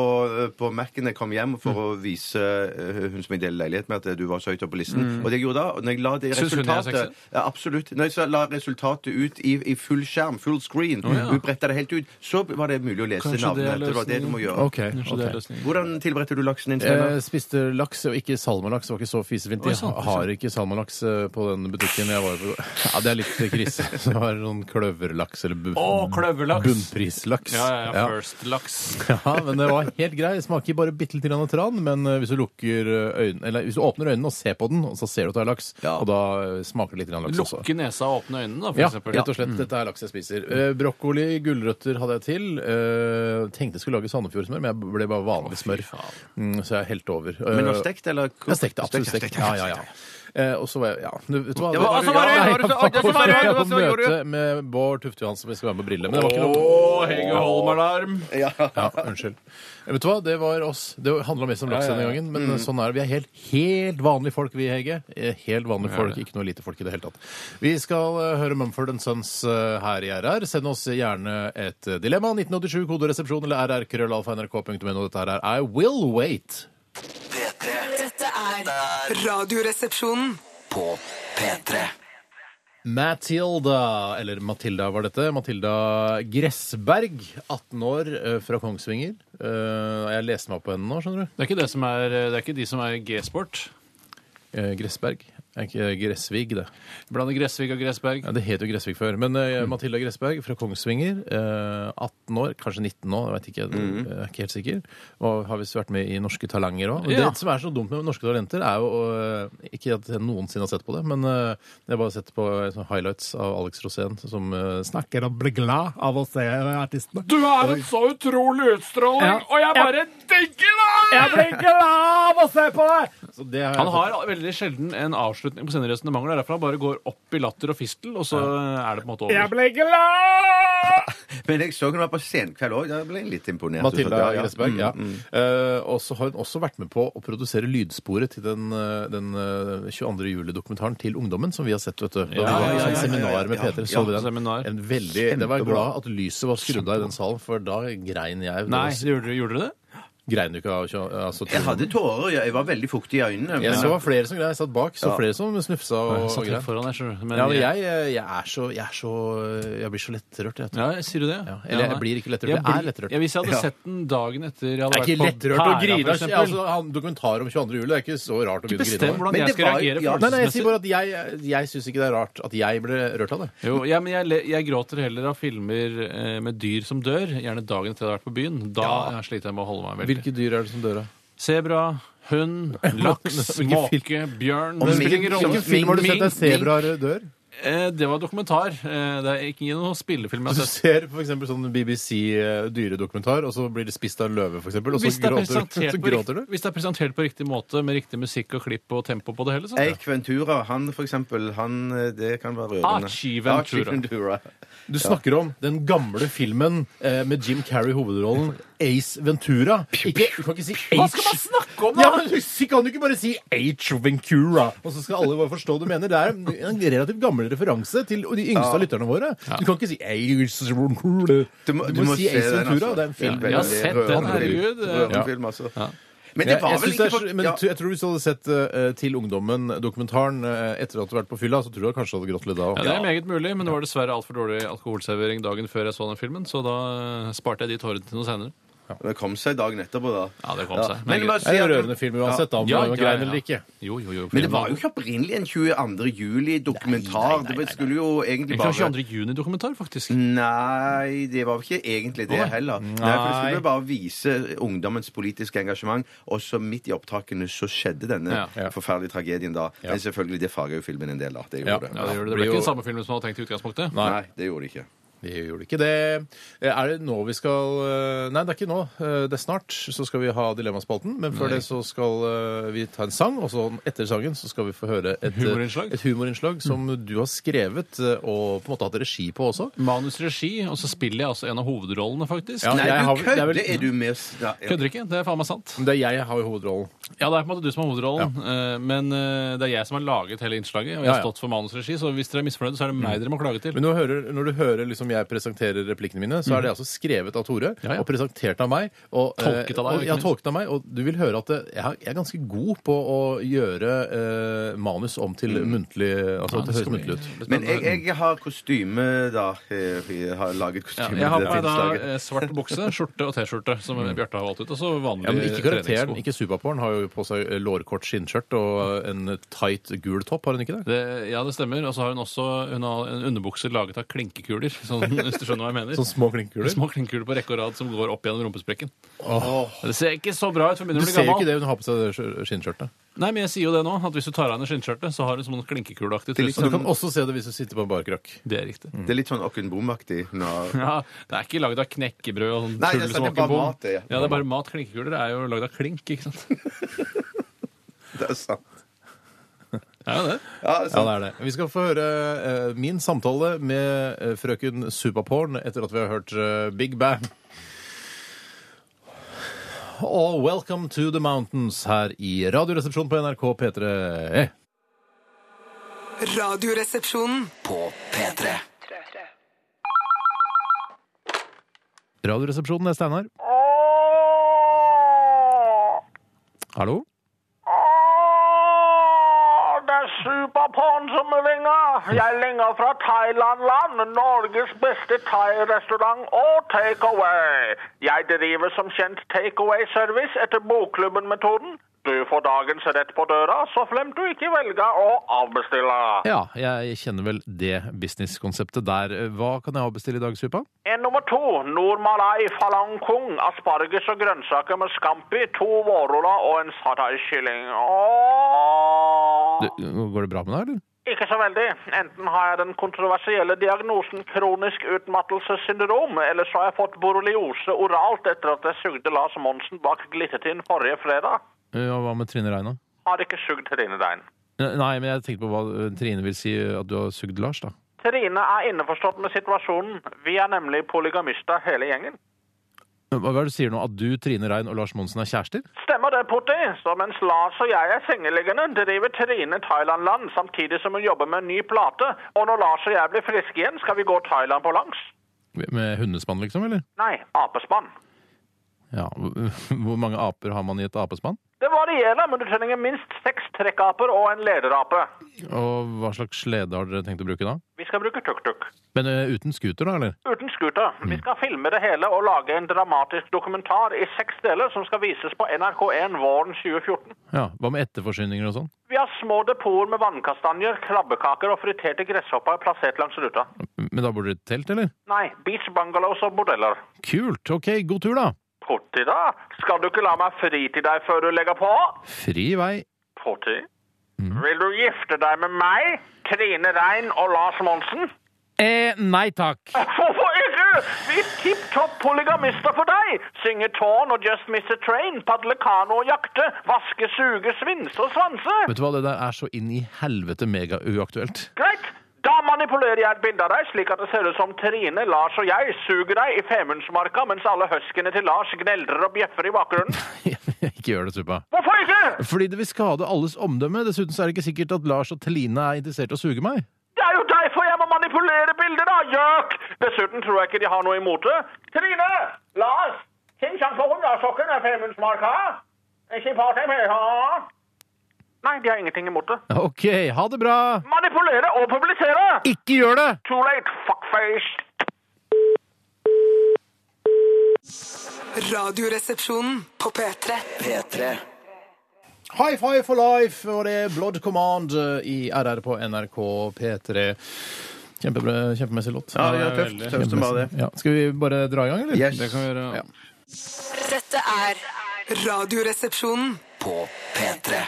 D: på Mac-en jeg kom hjem for å vise eh, hun som jeg deler leilighet med, at eh, du var så høyt oppe på listen. Og det jeg gjorde da, og når jeg la det
E: Syns hun jeg er sexy?
D: resultatet ja, Absolutt. Når jeg så la resultatet ut i, i full skjerm, full screen, hun bretta det helt ut, så var det mulig å lese
E: Kanskje det er
D: navnet. Det, var det du må gjøre.
C: Ok,
E: Kanskje det er løsningen.
D: Hvordan tilberedte du laksen din,
C: Jeg
D: Steinar?
C: Eh, spiste laks og ikke salmalaks. Det var ikke så fisefint.
E: Oi,
C: Jeg
E: sant, sant.
C: har ikke salmalaks eh, på den butikken jeg var på. Ja, Det er litt
E: [laughs]
C: krise. Så jeg har sånn kløverlaks eller bu-
E: Å, kløverlaks.
C: bunnprislaks.
E: Ja, ja, ja.
C: Ja.
E: First laks.
C: Ja, men det var helt grei. Det Smaker bare bitte litt grann av tran, men eh, hvis du lukker eh, øynene, eller hvis du åpner øynene og ser på den, og så ser du at det er laks, og da eh, smaker det litt grann laks også.
E: Lukke nesa og åpne øynene, da, for
C: Ja,
E: eksempel. Mm.
C: rett og slett. Dette er laks jeg spiser. Eh, Brokkoli, gulrøtter hadde jeg til. Eh, Tenkte jeg skulle lage Sandefjordsmør, men jeg ble bare vanlig smør.
E: faen.
C: Mm, Så jeg helte over. Eh,
D: Men du har stekt, eller?
C: Jeg stekte absolutt
D: Stekt,
C: stekt. Ja, ja, ja. Eh, Og så var jeg Ja, du vet du hva?
D: Ja, hva- hva var det? Hva var det-
C: Nei, jeg
D: hva var det-
C: var på
D: hva gjorde du?
C: møte med Bård Tufte Johansen, som jeg skal være med på Brille, men det var ikke noe
E: Å, Hege Holm-alarm!
C: Ja, unnskyld. Eh, Vet du hva, det var oss. Det handla mest om laks
E: Ja, ja, ja.
C: denne gangen,
D: Mm.
C: men sånn er det. Vi er helt, helt vanlige folk, vi, Hege. Eh, Helt vanlige folk, ikke noe lite folk i det hele tatt. Vi skal eh, høre Mumford Sons eh, her i RR. Send oss gjerne et eh, dilemma. 1987, koderesepsjon eller rrkrøllalfa.nrk.no. Dette her er I Will Wait.
B: P3
A: Radioresepsjonen.
B: på P3.
C: Matilda, eller Matilda var dette. Matilda Gressberg, 18 år, eh, fra Kongsvinger. Eh, Jeg leste meg opp på henne nå, skjønner du.
E: Det er ikke, det som er, det er ikke de som er G-sport.
C: Eh, Gressberg. Er ikke Gressvig, det.
E: Blander Gressvik og Gressberg.
C: Ja, det het jo Gressvik før. Men eh,
E: Mm.
C: Matilda Gressberg fra Kongsvinger, eh, 18 år, kanskje 19 nå, jeg vet ikke,
E: Mm.
C: jeg er ikke helt sikker. Og har visst vært med i Norske Talanger òg.
E: Ja.
C: Det som er så dumt med Norske Talenter, er jo eh, Ikke at jeg noensinne har sett på det, men eh, jeg har bare sett på eh, sånne highlights av Alex Rosén som eh, snakker og blir glad av å se artistene.
E: Du har en så utrolig utstråling,
C: Ja.
E: og jeg bare digger deg! Jeg blir glad av å se på deg!
C: Så det har jeg
E: Han har veldig sjelden en avslutning på sine resonnementer. Det er derfor han bare går opp i latter og fistel, og så er det på en måte over. Jeg ble glad!
D: Men jeg så hun var på senkveld òg. Da ble jeg litt imponert.
C: Matilda
D: Ja, Mm, ja.
C: Gressberg,
E: Mm,
C: ja. Eh, og så har hun også vært med på å produsere lydsporet til den, eh, den eh, 22. juli-dokumentaren til ungdommen, som vi har sett, vet du. Da vi var
E: ja,
C: på
E: ja,
C: sånn
E: ja,
C: seminar med Peter, så vi
E: Ja,
C: den.
E: seminar.
C: En veldig, det var jeg glad at lyset var skrudd av i den salen, for da grein jeg.
E: Nei, gjorde, gjorde du det?
C: Grein du ikke av tjue- altså,
D: Jeg hadde
C: tjue-
D: tårer. ja. Jeg var veldig fuktig i øynene.
C: jeg
D: men-
C: så det var flere som grein. Jeg satt bak, så flere som snufsa og,
E: Jeg satt
C: og
E: helt
C: grein.
E: foran deg, skjønner du. Men
C: Ja, men jeg, eh, jeg er så Jeg, er så, jeg blir så lettrørt, jeg. vet du.
E: Ja, jeg sier du det?
C: Ja, eller jeg
E: nei.
C: blir ikke lettrørt, jeg
E: blir-
C: er lettrørt.
E: Ja, hvis jeg hadde
D: Ja.
E: sett den dagen etter jeg hadde
C: Det er ikke
E: vært på
C: lettrørt å
E: Pæra,
C: grine.
E: for eksempel.
C: Altså, han- dokumentar om 22. juli, det er ikke så rart å begynne å grine. av.
E: Bestem hvordan
D: Men
E: jeg
D: det
E: skal
D: var-
E: reagere
D: ja.
C: Nei, nei, jeg
E: følelsesmessig.
C: sier bare at jeg, jeg syns ikke det er rart at jeg ble rørt av det.
E: Jo, ja, men jeg, le- jeg gråter heller av filmer eh, med dyr som dør, gjerne dagen etter jeg har vært på byen. Da ja. sliter jeg med å holde meg veldig.
C: Hvilke dyr er det som dør av?
E: Sebra, hund, laks,
C: Hvilke
E: måke, bjørn
D: Om
E: Det spiller ingen
D: hvilken-
E: rolle.
D: hvilken film har du
E: Mink,
D: sett der
E: mink.
C: sebraer dør?
E: Eh, Det var dokumentar. Eh, Det er ikke noen spillefilm
C: Du
E: jeg har sett.
C: ser f.eks. sånn BBC-dyredokumentar, og så blir det spist av en løve, f.eks., og så
E: Hvis det, er
C: gråter,
E: presentert
C: så
E: på riktig,
C: gråter du.
E: hvis det er presentert på riktig måte, med riktig musikk og klipp og tempo på det hele, så
D: Eik Ventura, han for eksempel, han, eh, det kan være rørende.
E: Archie Ventura.
D: Ventura.
C: Du snakker om den gamle filmen eh, med Jim Carrey i hovedrollen, Ace Ventura. Ikke, du kan ikke si Ace
E: Hva skal man snakke om,
C: Ja,
E: da?!
C: men du kan jo ikke bare si H. Ventura, og så skal alle bare forstå hva du mener. Det er en en relativt gammel referanse til de yngste av lytterne våre. Du kan ikke si Ace Ventura.
D: Du må, du må
C: si
D: se
C: Ace
D: den,
C: Ventura.
D: altså.
C: Det er en film.
E: Jeg har sett den,
D: Rørende film.
E: herregud.
D: Rørende
C: Ja.
D: film, altså. Men det
C: Jeg,
D: var
C: jeg,
D: vel
C: synes det
D: ikke
C: er,
D: for...
C: så- men
D: ja.
C: jeg tror- jeg tror hvis du hadde sett eh, Til ungdommen-dokumentaren eh, etter at du hadde vært på fylla, så tror jeg kanskje du hadde grått litt da
E: Ja, Det er meget mulig, men det var dessverre altfor dårlig alkoholservering dagen før jeg så den filmen, så da eh, sparte jeg de tårene til noe senere.
D: Det kom seg dagen etterpå, da.
E: Ja, det kom seg.
D: Men,
E: Men
D: jeg må
E: greit.
C: Det
D: si
C: er en
D: at-
C: rørende film uansett, da, om
E: Ja,
C: det var
E: ja,
C: grein
E: ja.
C: eller ikke.
E: Jo, jo, jo.
D: men det var jo ikke opprinnelig en 22. juli-dokumentar. Det skulle jo egentlig
E: Egentlig var
D: bare
E: 22. juni-dokumentar, faktisk.
C: Mm.
D: Nei, det var ikke egentlig det heller. Nei, for Det
C: Nei.
D: skulle jo bare vise ungdommens politiske engasjement. Og så midt i opptakene så skjedde denne
E: Ja.
C: Ja.
D: forferdelige tragedien da. Men selvfølgelig, det farga jo filmen en del, da. Det
C: Ja.
D: gjorde det.
E: Ja, det, gjorde det. det
C: blir
E: ble
C: jo-
E: ikke den samme filmen som man hadde tenkt i utgangspunktet.
D: Nei, det gjorde det ikke.
C: Vi gjorde ikke det. Eh, Er det nå vi skal eh, Nei, det er ikke nå. Eh, Det er snart så skal vi ha Dilemmaspalten. Men før det så skal eh, vi ta en sang, og så etter sangen så skal vi få høre et eh,
E: Humorinnslag? Mm.
C: et humorinnslag som du har skrevet eh, og på en måte hatt regi på også.
E: Manusregi, og så spiller jeg altså en av hovedrollene, faktisk.
C: Ja,
D: Nei,
C: jeg har-
D: du
C: det er vel-
D: kødder! Er du med s- ja, ja.
E: Kødder ikke. Det er faen meg sant.
C: Men Det er jeg jeg har i hovedrollen.
E: Ja, det er på en måte du som har hovedrollen, eh, men eh, det er jeg som har laget hele innslaget, og jeg
C: Ja,
E: har
C: ja.
E: stått for manusregi, så hvis dere er misfornøyde, så er det meg dere må klage til.
C: Men når du hører, når du hører liksom jeg presenterer replikkene mine, så er det altså skrevet av Tore
E: Mm. Ja, ja.
C: og presentert av meg. Og, eh,
E: Tolket av deg,
C: Og, ja,
E: ikke minst.
C: tolket av meg. Og du vil høre at det- jeg har- jeg er ganske god på å gjøre eh, manus om til muntlig Altså
E: Mm. Ja,
C: at det
E: det
C: høres
E: skal
C: muntlig
E: bli-
C: ut.
D: Men jeg, jeg har kostyme, da. Jeg jeg har laget
E: Ja,
D: kostyme
E: jeg har
D: til
E: på
D: dette
E: meg da
D: innslaget.
E: eh, svart bukse, skjorte og T-skjorte, som Bjarte har valgt ut, og så vanlig
C: Mm. Ja, men ikke karakteren,
E: treningssko.
C: ikke Supaporn, har jo på seg eh, lårkort skinnskjørt og eh, en tight gul topp, har hun ikke det?
E: Det, ja, det stemmer. Og så har hun også hun har en underbukse laget av klinkekuler. Sånn, [laughs] hvis du skjønner hva jeg mener.
C: Sånn små klinkekuler.
E: Små klinkekuler på rekke og rad som går opp gjennom rumpesprekken.
C: Åh.
E: Det ser ikke så bra ut, for begynner
C: Du
E: å bli
C: ser jo ikke
E: gammel.
C: det hun har på seg det skj- skinnskjørtet.
E: Nei, men jeg sier jo det nå, at hvis du tar av henne skinnskjørtet, så har hun sånn klinkekuleaktig
D: Det er litt
E: truse.
C: Og du kan også se det hvis du sitter på en barkrakk.
E: Det er riktig.
D: Det er litt sånn Okkenbom-aktig. hun har-
E: [laughs] Ja, Det er ikke lagd av knekkebrød og sånn
D: Nei,
E: tull
D: det er
E: som
D: sant, det er
E: åker på.
D: bare mat, det,
E: Ja,
D: ja.
E: det er bare mat. Klinkekuler er jo lagd av klink, ikke sant. [laughs]
D: Det er sant.
E: Det er jo det.
D: Ja, det er
C: Ja,
D: sant.
C: det er det. Vi skal få høre eh, min samtale med eh, frøken Supaporn etter at vi har hørt eh, Big Bang. Og Welcome to the Mountains her i Radioresepsjonen på NRK Eh, P3.
A: Radioresepsjonen.
B: På P3.
C: Radioresepsjonen, det er Steinar. Hallo?
F: Åh, Det er superporn som ringer. Jeg ringer fra Thailand-land, Norges beste thai-restaurant og takeaway. Jeg driver som kjent takeaway-service etter Bokklubben-metoden. Du får dagens rett på døra, så fremt du ikke velger å avbestille.
C: Ja, jeg kjenner vel det businesskonseptet der. Hva kan jeg avbestille i dag, Supa?
F: En nummer to, Nordmalai Falangkung, asparges og grønnsaker med scampi, to vårruller og en satay-kylling. Åh.
C: Du, går det bra med deg, eller?
F: Ikke så veldig. Enten har jeg den kontroversielle diagnosen kronisk utmattelsessyndrom, eller så har jeg fått borreliose oralt etter at jeg sugde Lars Monsen bak Glittertind forrige fredag.
C: Eh, Ja, hva med Trine Reina?
F: Har ikke sugd Trine Dein.
C: Nei, men jeg tenkte på hva eh, Trine vil si eh, at du har sugd Lars, da.
F: Trine er innforstått med situasjonen. Vi er nemlig polygamister hele gjengen.
C: Hva hva er det du sier nå? At du, Trine Rein og Lars Monsen er kjærester?
F: Stemmer det, Potti? Så mens Lars og jeg er sengeliggende, driver Trine Thailand-land samtidig som hun jobber med en ny plate. Og når Lars og jeg blir friske igjen, skal vi gå Thailand på langs.
C: Med hundespann, liksom? eller?
F: Nei, apespann.
C: Ja, [laughs] Hvor mange aper har man i et apespann?
F: Det varierer, men du trenger minst seks trekkaper og en lederape.
C: Og hva slags slede har dere tenkt å bruke da?
F: Vi skal bruke tuk-tuk.
C: Men eh, uten scooter, da? eller?
F: Uten scooter. Vi skal filme det hele og lage en dramatisk dokumentar i seks deler som skal vises på NRK1 våren 2014.
C: Ja, Hva med etterforsyninger og sånn?
F: Vi har små depoter med vannkastanjer, krabbekaker og friterte gresshopper plassert langs ruta.
C: Men da bor dere i et telt, eller?
F: Nei, beach bungalows og bordeller.
C: Kult! OK, god tur, da!
F: Potti, da? Skal du ikke la meg fri til deg før du legger på?
C: Fri vei.
F: Potti? Vil du gifte deg med meg, Trine Rein og Lars Monsen?
C: Eh, nei takk.
F: Hvorfor ikke? Vi er tipp topp polygamister for deg. Synge tårn og Just Miss a Train, padle kano og jakte, vaske, suge, svinse og svanse.
C: Vet du hva, det der er så inn i helvete megauaktuelt.
F: Greit. Da manipulerer jeg et bilde av deg, slik at det ser ut som Trine, Lars og jeg suger deg i Femundsmarka mens alle huskene til Lars gneldrer og bjeffer i bakgrunnen.
C: [laughs] ikke gjør det, Supa.
F: Hvorfor ikke?
C: Fordi det vil skade alles omdømme. Dessuten så er det ikke sikkert at Lars og Teline er interessert i å suge meg.
F: Det er jo derfor jeg må manipulere bildet, da, gjøk! Dessuten tror jeg ikke de har noe imot det. Trine! Lars! Kim Sjangsvold, Larssokken er Femundsmarka. Ikke part med, ha? Nei, de har ingenting imot det.
C: OK, ha det bra!
F: Manipulere og publisere!
C: Ikke gjør det!
F: Too late, fuckface!
A: Radioresepsjonen på P3.
B: P3.
C: High five for life, og det er Blood Command eh, i RR på NRK P3. Kjempebra, kjempemessig låt.
D: Ja, ja, tøft.
E: veldig.
D: Tøft som bare det.
C: Ja, skal vi bare dra i gang, eller?
D: Yes.
E: Det kan vi gjøre.
A: Dette er Radioresepsjonen.
B: På P3.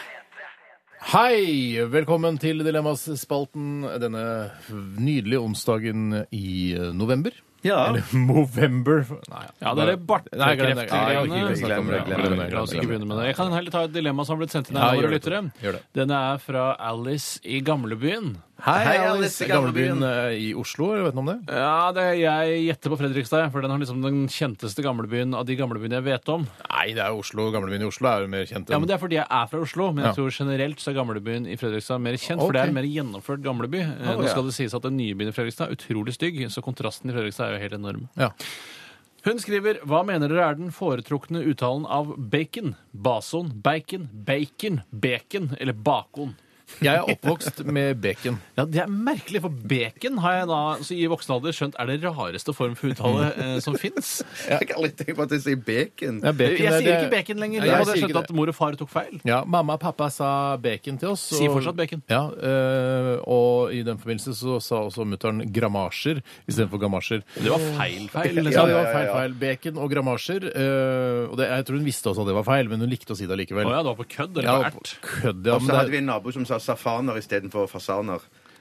C: Hei! Velkommen til Dilemmaspalten denne nydelige onsdagen i november.
D: Ja.
C: Eller Movember Nei,
E: Ja, det er det
C: Nei, glem det. Ja, jeg orker
E: bartekreftgreiene.
C: ikke snakke om det. Glem det, glem det, glem det.
E: La oss ikke begynne med det. Jeg kan heller ta et dilemma som har blitt sendt inn
C: Ja,
E: av våre
C: gjør det,
E: lyttere.
C: Tore. Gjør det.
E: Denne er fra Alice i Gamlebyen.
C: Hei,
D: Hei, Alice
C: Alice.
D: i
C: Gamlebyen eh, i Oslo, eller vet du noe om det?
E: Ja, det, Jeg gjetter på Fredrikstad, for den har liksom den kjenteste gamlebyen av de gamlebyene jeg vet om.
C: Nei, det er jo Oslo. Gamlebyen i Oslo er jo mer kjent enn
E: Ja, men Det er fordi jeg er fra Oslo, men jeg
C: Ja.
E: tror generelt så er gamlebyen i Fredrikstad mer kjent. For
C: Ok.
E: det er en mer gjennomført gamleby. Eh,
C: Å,
E: Nå
C: ja.
E: skal det sies at den nye byen i Fredrikstad er utrolig stygg, så kontrasten i Fredrikstad er jo helt enorm.
C: Ja.
E: Hun skriver Hva mener dere er den foretrukne uttalen av bacon? Bason, bacon, bacon, bacon eller bakon?
C: Jeg er oppvokst med
E: [laughs]
C: bacon.
E: Ja, Det er merkelig, for bacon har jeg da så i voksen alder skjønt er det rareste form for [laughs] uttale eh, som fins.
D: Jeg har aldri tenkt på at jeg sier bacon.
C: Ja, bacon
E: Jeg
C: er
E: sier
C: det-
E: ikke bacon lenger.
C: Nei, jeg
E: Jeg hadde
C: sier
E: skjønt
C: ikke
E: at mor og far tok feil.
C: Ja, Mamma og pappa sa bacon til oss.
E: Sier fortsatt bacon.
C: Ja, eh, Og i den forbindelse så sa også mutter'n grammasjer istedenfor gamasjer.
E: Det var feil feil.
C: Ja,
E: liksom.
C: det var feil, feil. Bacon og grammasjer. eh, og det, jeg tror hun visste også at det var feil, men hun likte å si det
E: Å
C: likevel.
E: ja, det var på kødd
C: Ja,
E: eller på
C: på
E: ert?
C: kødd, ja.
D: Og så
C: Men
D: Altså, hadde vi
C: det,
D: en nabo som sa safaner istedenfor fasaner.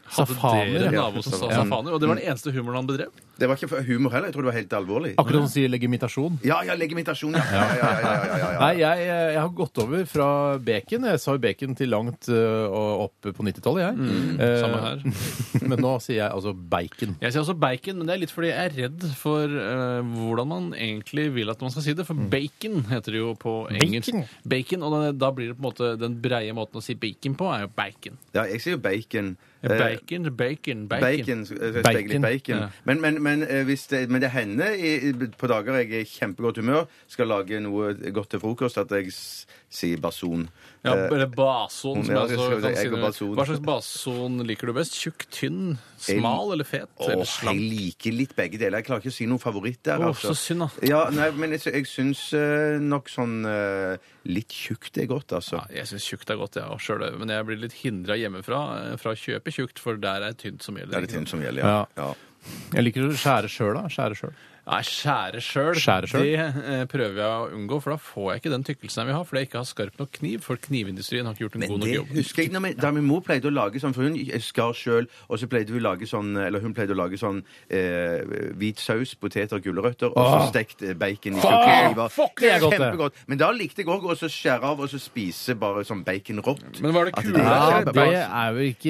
E: Hadde dere
C: safaner.
E: en
C: ja.
E: nabo som sa
D: Ja.
E: safaner? Og det var den eneste humoren han bedrev?
D: Det var ikke humor heller. Jeg tror det var helt alvorlig.
C: Akkurat som hun sier legimitasjon.
D: Ja, ja, legimitasjon, ja. ja, ja, ja, ja, ja, ja.
C: Nei, jeg, jeg har gått over fra bacon. Jeg sa jo bacon til langt eh, og opp på 90-tallet, jeg. Eh,
E: Mm, samme her.
C: [laughs] men nå sier jeg altså bacon.
E: Jeg sier også bacon, men det er litt fordi jeg er redd for eh, hvordan man egentlig vil at man skal si det. For
D: Mm.
E: bacon heter det jo på engelsk. Bacon, Og da- da blir det på en måte den breie måten å si bacon på, er jo bacon.
D: ja jeg sier jo bacon. Eh,
E: Bacon, bacon, bacon.
D: Bacon. så- så steker jeg
C: Bacon.
D: litt bacon.
E: Ja.
D: Men, men, men, eh, hvis det, men det hender i, i- på dager jeg er i kjempegodt humør, skal lage noe godt til frokost, at jeg s- sier bason.
E: Ja,
D: Eh,
E: eller bason. Som
D: Ja,
E: er
D: jeg
E: så,
D: skulle
E: kan
D: si egg
E: si
D: og
E: det.
D: bason.
E: Hva slags bason liker du best? Tjukk, tynn, smal eller fet? Eller
D: Åh, jeg
E: slank?
D: liker litt begge deler. Jeg klarer ikke å si noen favoritt der. altså.
E: Åh, så synd, da.
D: Ja, nei, men jeg, sy- jeg syns eh, nok sånn eh, litt tjukt er godt, altså.
E: Ja, jeg syns tjukt er godt, jeg òg sjøl. Men jeg blir litt hindra hjemmefra eh, fra å kjøpe tjukt, for der er tynt som gjelder.
D: Det er det
E: ikke sant?
D: tynt som gjelder, ja. ja.
C: Jeg liker å skjære sjøl, da. Skjære sjøl.
E: Nei, skjære sjøl.
C: Skjære sjøl?
E: Det eh, prøver jeg å unngå, for da får jeg ikke den tykkelsen jeg vil ha. Fordi jeg ikke har skarp nok kniv, for knivindustrien har ikke gjort en
D: Men
E: god nok
D: det
E: jobb.
D: husker jeg når min, da min mor pleide å lage sånn, for hun skar sjøl, og så pleide hun, lage sånn, eller hun pleide å lage sånn eh, hvit saus, poteter, gulrøtter, og så
C: Åh.
D: stekt eh, bacon i
C: Ah. fuck, det er godt, det.
D: Kjempegodt. Men da likte jeg òg å så skjære av og så spise bare sånn bacon rått.
E: Men var det
D: At
E: kule?
D: det er
C: Ja,
D: kjempe-
C: det er jo ikke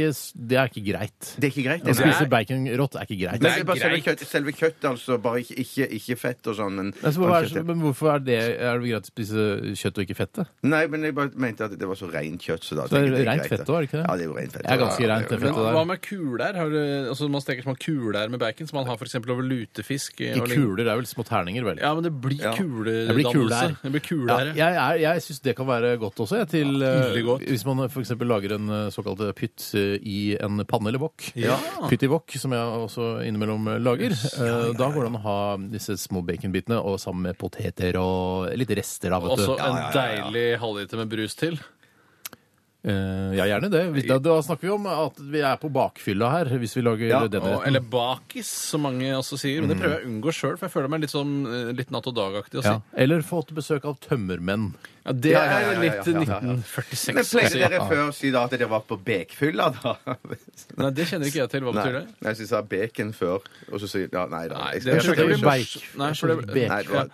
C: Det er ikke greit.
D: Det er ikke greit.
C: Å
D: det.
C: spise bacon rått er ikke greit.
D: Men
E: det er
D: bare selve
E: greit.
D: kjøttet, selve kjøttet, altså. Bare ikke, ikke, ikke fett og sånn. Men,
C: Men så hvorfor
D: bare
C: er,
D: kjøttet.
C: men hvorfor er det, er det greit å spise kjøtt og ikke fettet?
D: Nei, men jeg bare mente at det var så rent kjøtt. Så da
C: Så det er
D: tenkte jeg,
C: rent
D: greit,
C: fett også, er det ikke det?
D: Ja, det er jo rent fett.
C: Det er ganske
D: Ja, ja,
C: rent, det
D: er jo
C: fettet der.
E: Hva med kuler? Har du, altså man steker små kuler med bacon, som man har for eksempel over lutefisk. eh,
C: Ikke
E: og lignende.
C: kuler, det er vel små terninger, vel?
E: Ja, men det blir
D: Ja.
E: kuledannelse.
C: Det blir kuler.
E: Det blir kuler.
C: Ja, jeg er- jeg syns det kan være godt også, jeg, til eh,
E: veldig godt.
C: Hvis man f.eks. lager en eh, såkalt pytt eh, i en panne eller wok.
E: Ja.
C: Pytt i wok, som jeg også innimellom eh, lager. Eh, Da går det an å ha disse små baconbitene og sammen med poteter og litt rester, da, vet
E: Også
C: du.
E: en deilig halvliter med brus til.
C: Eh, Ja, gjerne det. Hvis- Da, da snakker vi om at vi er på bakfylla her, hvis vi lager
D: Ja, Mm.
C: denne
E: Og,
C: retten.
E: eller bakis, som mange også sier. Men det prøver jeg å unngå sjøl, for jeg føler meg litt sånn eh, litt natt og dag-aktig. å si.
C: Ja. Eller fått besøk av tømmermenn.
E: Ja, det
D: Ja, ja, ja, ja, ja, ja, ja, ja.
E: er litt Mm,
D: Men
E: 1946.
D: pleide dere før å si da at dere var på bekfylla, da?
E: Nei, det kjenner ikke jeg til. Hva
D: Nei,
E: betyr det?
D: nei, så jeg sa bacon før, og så sier ja, Nei da.
E: Nei,
D: jeg
E: det
D: skal-
E: skjønner
C: skjønte
E: jeg
C: jeg
E: ikke.
C: blir beik-
E: Nei,
C: jeg
E: for det-
C: skjønte bek-
D: Nei, det var-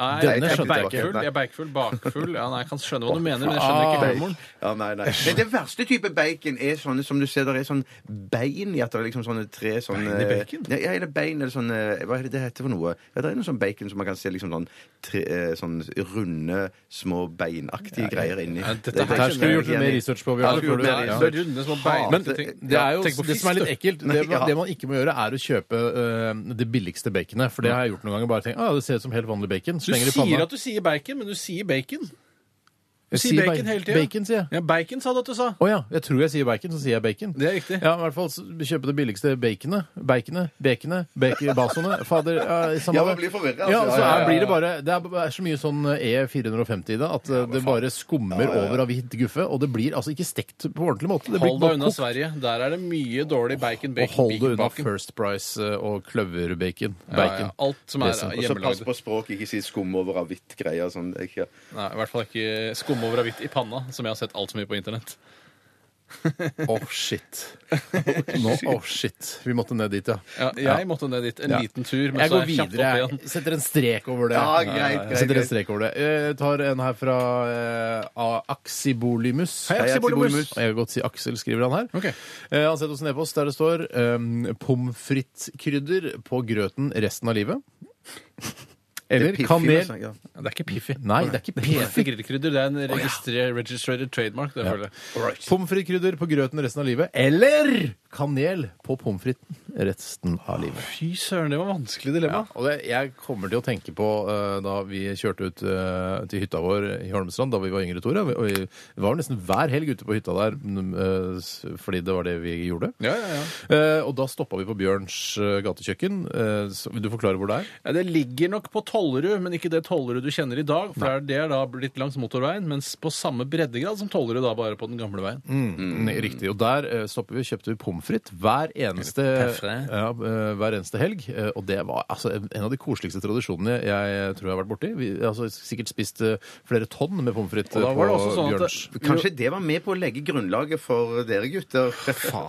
E: Nei,
D: Denne
E: jeg er
D: skjønte jeg ikke.
E: beikfull,
D: Nei.
E: jeg er beikfull, bakfull ja, nei, Jeg kan skjønne hva du mener, men jeg skjønner
D: Ah,
E: ikke
D: Bacon.
E: humoren.
D: Ja, nei, nei. Men det verste type bacon er sånne som du ser der er sånn bein i. At det er liksom sånne tre sånne
E: Bein i bacon?
D: Ja, ja, eller bein eller sånne Hva er det det heter for noe? Ja, det er noe sånn bacon som man kan se liksom sånn, tre, eh, sånn runde, små beinaktige greier inni.
E: dette
D: Det-
E: her
D: det-
E: skjønner
C: Her skulle vi
E: jeg
C: gjort litt mer research på.
D: Ja,
C: Bjørn,
D: skulle gjort
C: før du-
D: mer
E: Nei,
C: Ja.
E: så runde, små bein-
D: Men-
E: ting.
C: Det, er jo,
E: Tenk på
C: det som er litt
E: fisk,
C: ekkelt, det,
D: Nei, ja.
C: det man ikke må gjøre, er å kjøpe øh, det billigste baconet. For det har jeg gjort noen ganger. Bare tenkt, ah, det ser ut som helt vanlig bacon.
E: Du
C: Slenger det i
E: sier
C: panna.
E: at du sier bacon, men du sier bacon. Du
C: Jeg
E: sier
C: sier
E: bacon
C: ba-
E: hele tida.
C: Bacon, sier jeg.
E: Ja, bacon sa du at du sa.
C: Å ja, jeg tror jeg sier bacon, så sier jeg bacon.
E: Det er riktig.
C: Ja, i hvert fall så kjøpe det billigste baconet. Baconet, baconet, bacon, basonet. Fader, ja, samme
D: Ja, man
C: det.
D: blir forvirret, altså.
C: Ja,
D: Ja,
C: så
D: ja, ja,
C: er,
D: ja.
C: blir det bare Det er, er så mye sånn E450 i det at øh, det bare skummer over av hvitt guffe, og det blir altså ikke stekt på ordentlig måte. Det blir
E: Hold deg
C: bare
E: unna altså.
C: kokt.
E: Sverige. Der er det mye dårlig bacon,
C: Og
E: bacon,
C: hold deg
E: bacon,
C: unna
E: bacon.
C: First Price eh, og kløverbacon.
E: Ja,
C: Bacon.
E: ja, alt som er
C: Dessuten.
D: Og så pass
E: hjemmelagd.
D: på språket, ikke si skum over av hvitt greier. Sånn. Ikke,
E: Nei, I hvert fall ikke skum over avitt i panna, som jeg har sett altfor mye på internett.
C: Åh, shit. [laughs] Nå, åh, shit. Vi måtte ned dit, ja.
E: Ja, jeg måtte ned dit. En
C: Ja.
E: liten tur, men
C: Jeg
E: så
C: går
E: er jeg kjapt
C: videre.
E: opp igjen.
C: Jeg setter en strek over det.
D: Ja, greit, greit,
C: jeg setter en
D: greit.
C: strek over det. Jeg tar en her fra eh, Axibolimus.
E: Hei, Aksibolimus.
C: Jeg kan godt si Aksel, skriver han her.
E: Ok.
C: Eh, han setter oss en e-post der det står um, pommes frites-krydder på grøten resten av livet. Eller
D: Piff,
C: kanel.
D: altså, ja.
E: Det er ikke Piffi.
C: Nei, det er ikke
E: Piffi
C: pefig.
E: grillkrydder. Det er en registrer, registered trademark. Det, føler jeg.
C: Pommes frites-krydder på grøten resten av livet. Eller kanel på pommes fritesen resten av livet.
E: Fy søren, det var et vanskelig dilemma.
C: Ja, og det, jeg kommer til å tenke på eh, da vi kjørte ut eh, til hytta vår i Holmestrand da vi var yngre, Tore. Og vi var jo nesten hver helg ute på hytta der mm, eh, s- fordi det var det vi gjorde.
E: Ja, ja, ja.
C: Eh, og da stoppa vi på Bjørns eh, gatekjøkken. Eh, så, vil du forklare hvor det er?
E: Ja, det ligger nok på Tollerud, men ikke det Tollerud du kjenner i dag. For det er da blitt langs motorveien, mens på samme breddegrad som Tollerud, da bare på den gamle veien.
C: Mm, Riktig. Og der eh, stopper vi og kjøpte vi pommes frites hver, eneste-
E: Parfait.
C: ja, eh, hver eneste helg. Eh, og det var altså, en av de koseligste tradisjonene jeg tror jeg har vært borti. Vi har altså, sikkert spist eh, flere tonn med pommes frites
E: Og da
C: eh,
E: var det
C: på
E: også sånn at-
C: Bjørns.
D: Kanskje det var med på å legge grunnlaget for dere [laughs] gutter.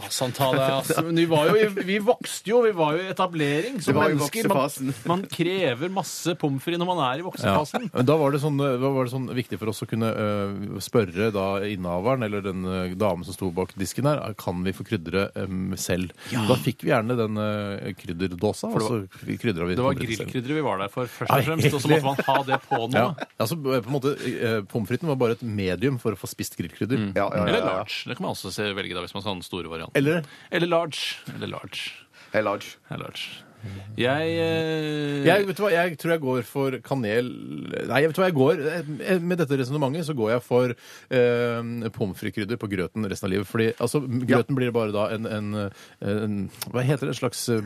E: Samtale, altså. Men Vi, var jo, i- vi vokste jo, vi var jo i etablering som
D: Det var jo
E: mennesker. Man,
D: voksefasen.
E: man krever masse pommes frites når man er i voksefasen.
C: Men Da var det, sånn, da var det sånn viktig for oss å kunne eh, spørre da innehaveren eller den eh, damen som sto bak disken her, kan vi få krydderet eh, selv? Da fikk vi gjerne den eh, krydderdåsa, og så krydra vi.
E: Det var
C: pommes frites selv.
E: grillkrydderet vi var der for, først og
C: Nei,
E: fremst. Og så
C: egentlig.
E: måtte man ha det på noe.
C: Ja, altså på en måte eh, Pommes fritesen var bare et medium for å få spist grillkrydder.
D: Ja, ja,
E: Eller
D: ja, ja.
E: large. Det kan man også se, velge da, hvis man skal ha den store varianten.
C: Eller
E: Eller large. Eller large.
D: Hey, Lodge.
E: Eller large. Jeg, eh,
C: jeg, vet du hva, jeg tror jeg går for kanel Nei, vet du hva jeg går eh, Med dette resonnementet så går jeg for eh, pommes frites-krydder på grøten resten av livet. Fordi altså, m- grøten blir bare da en, en, en Hva heter det? En slags eh,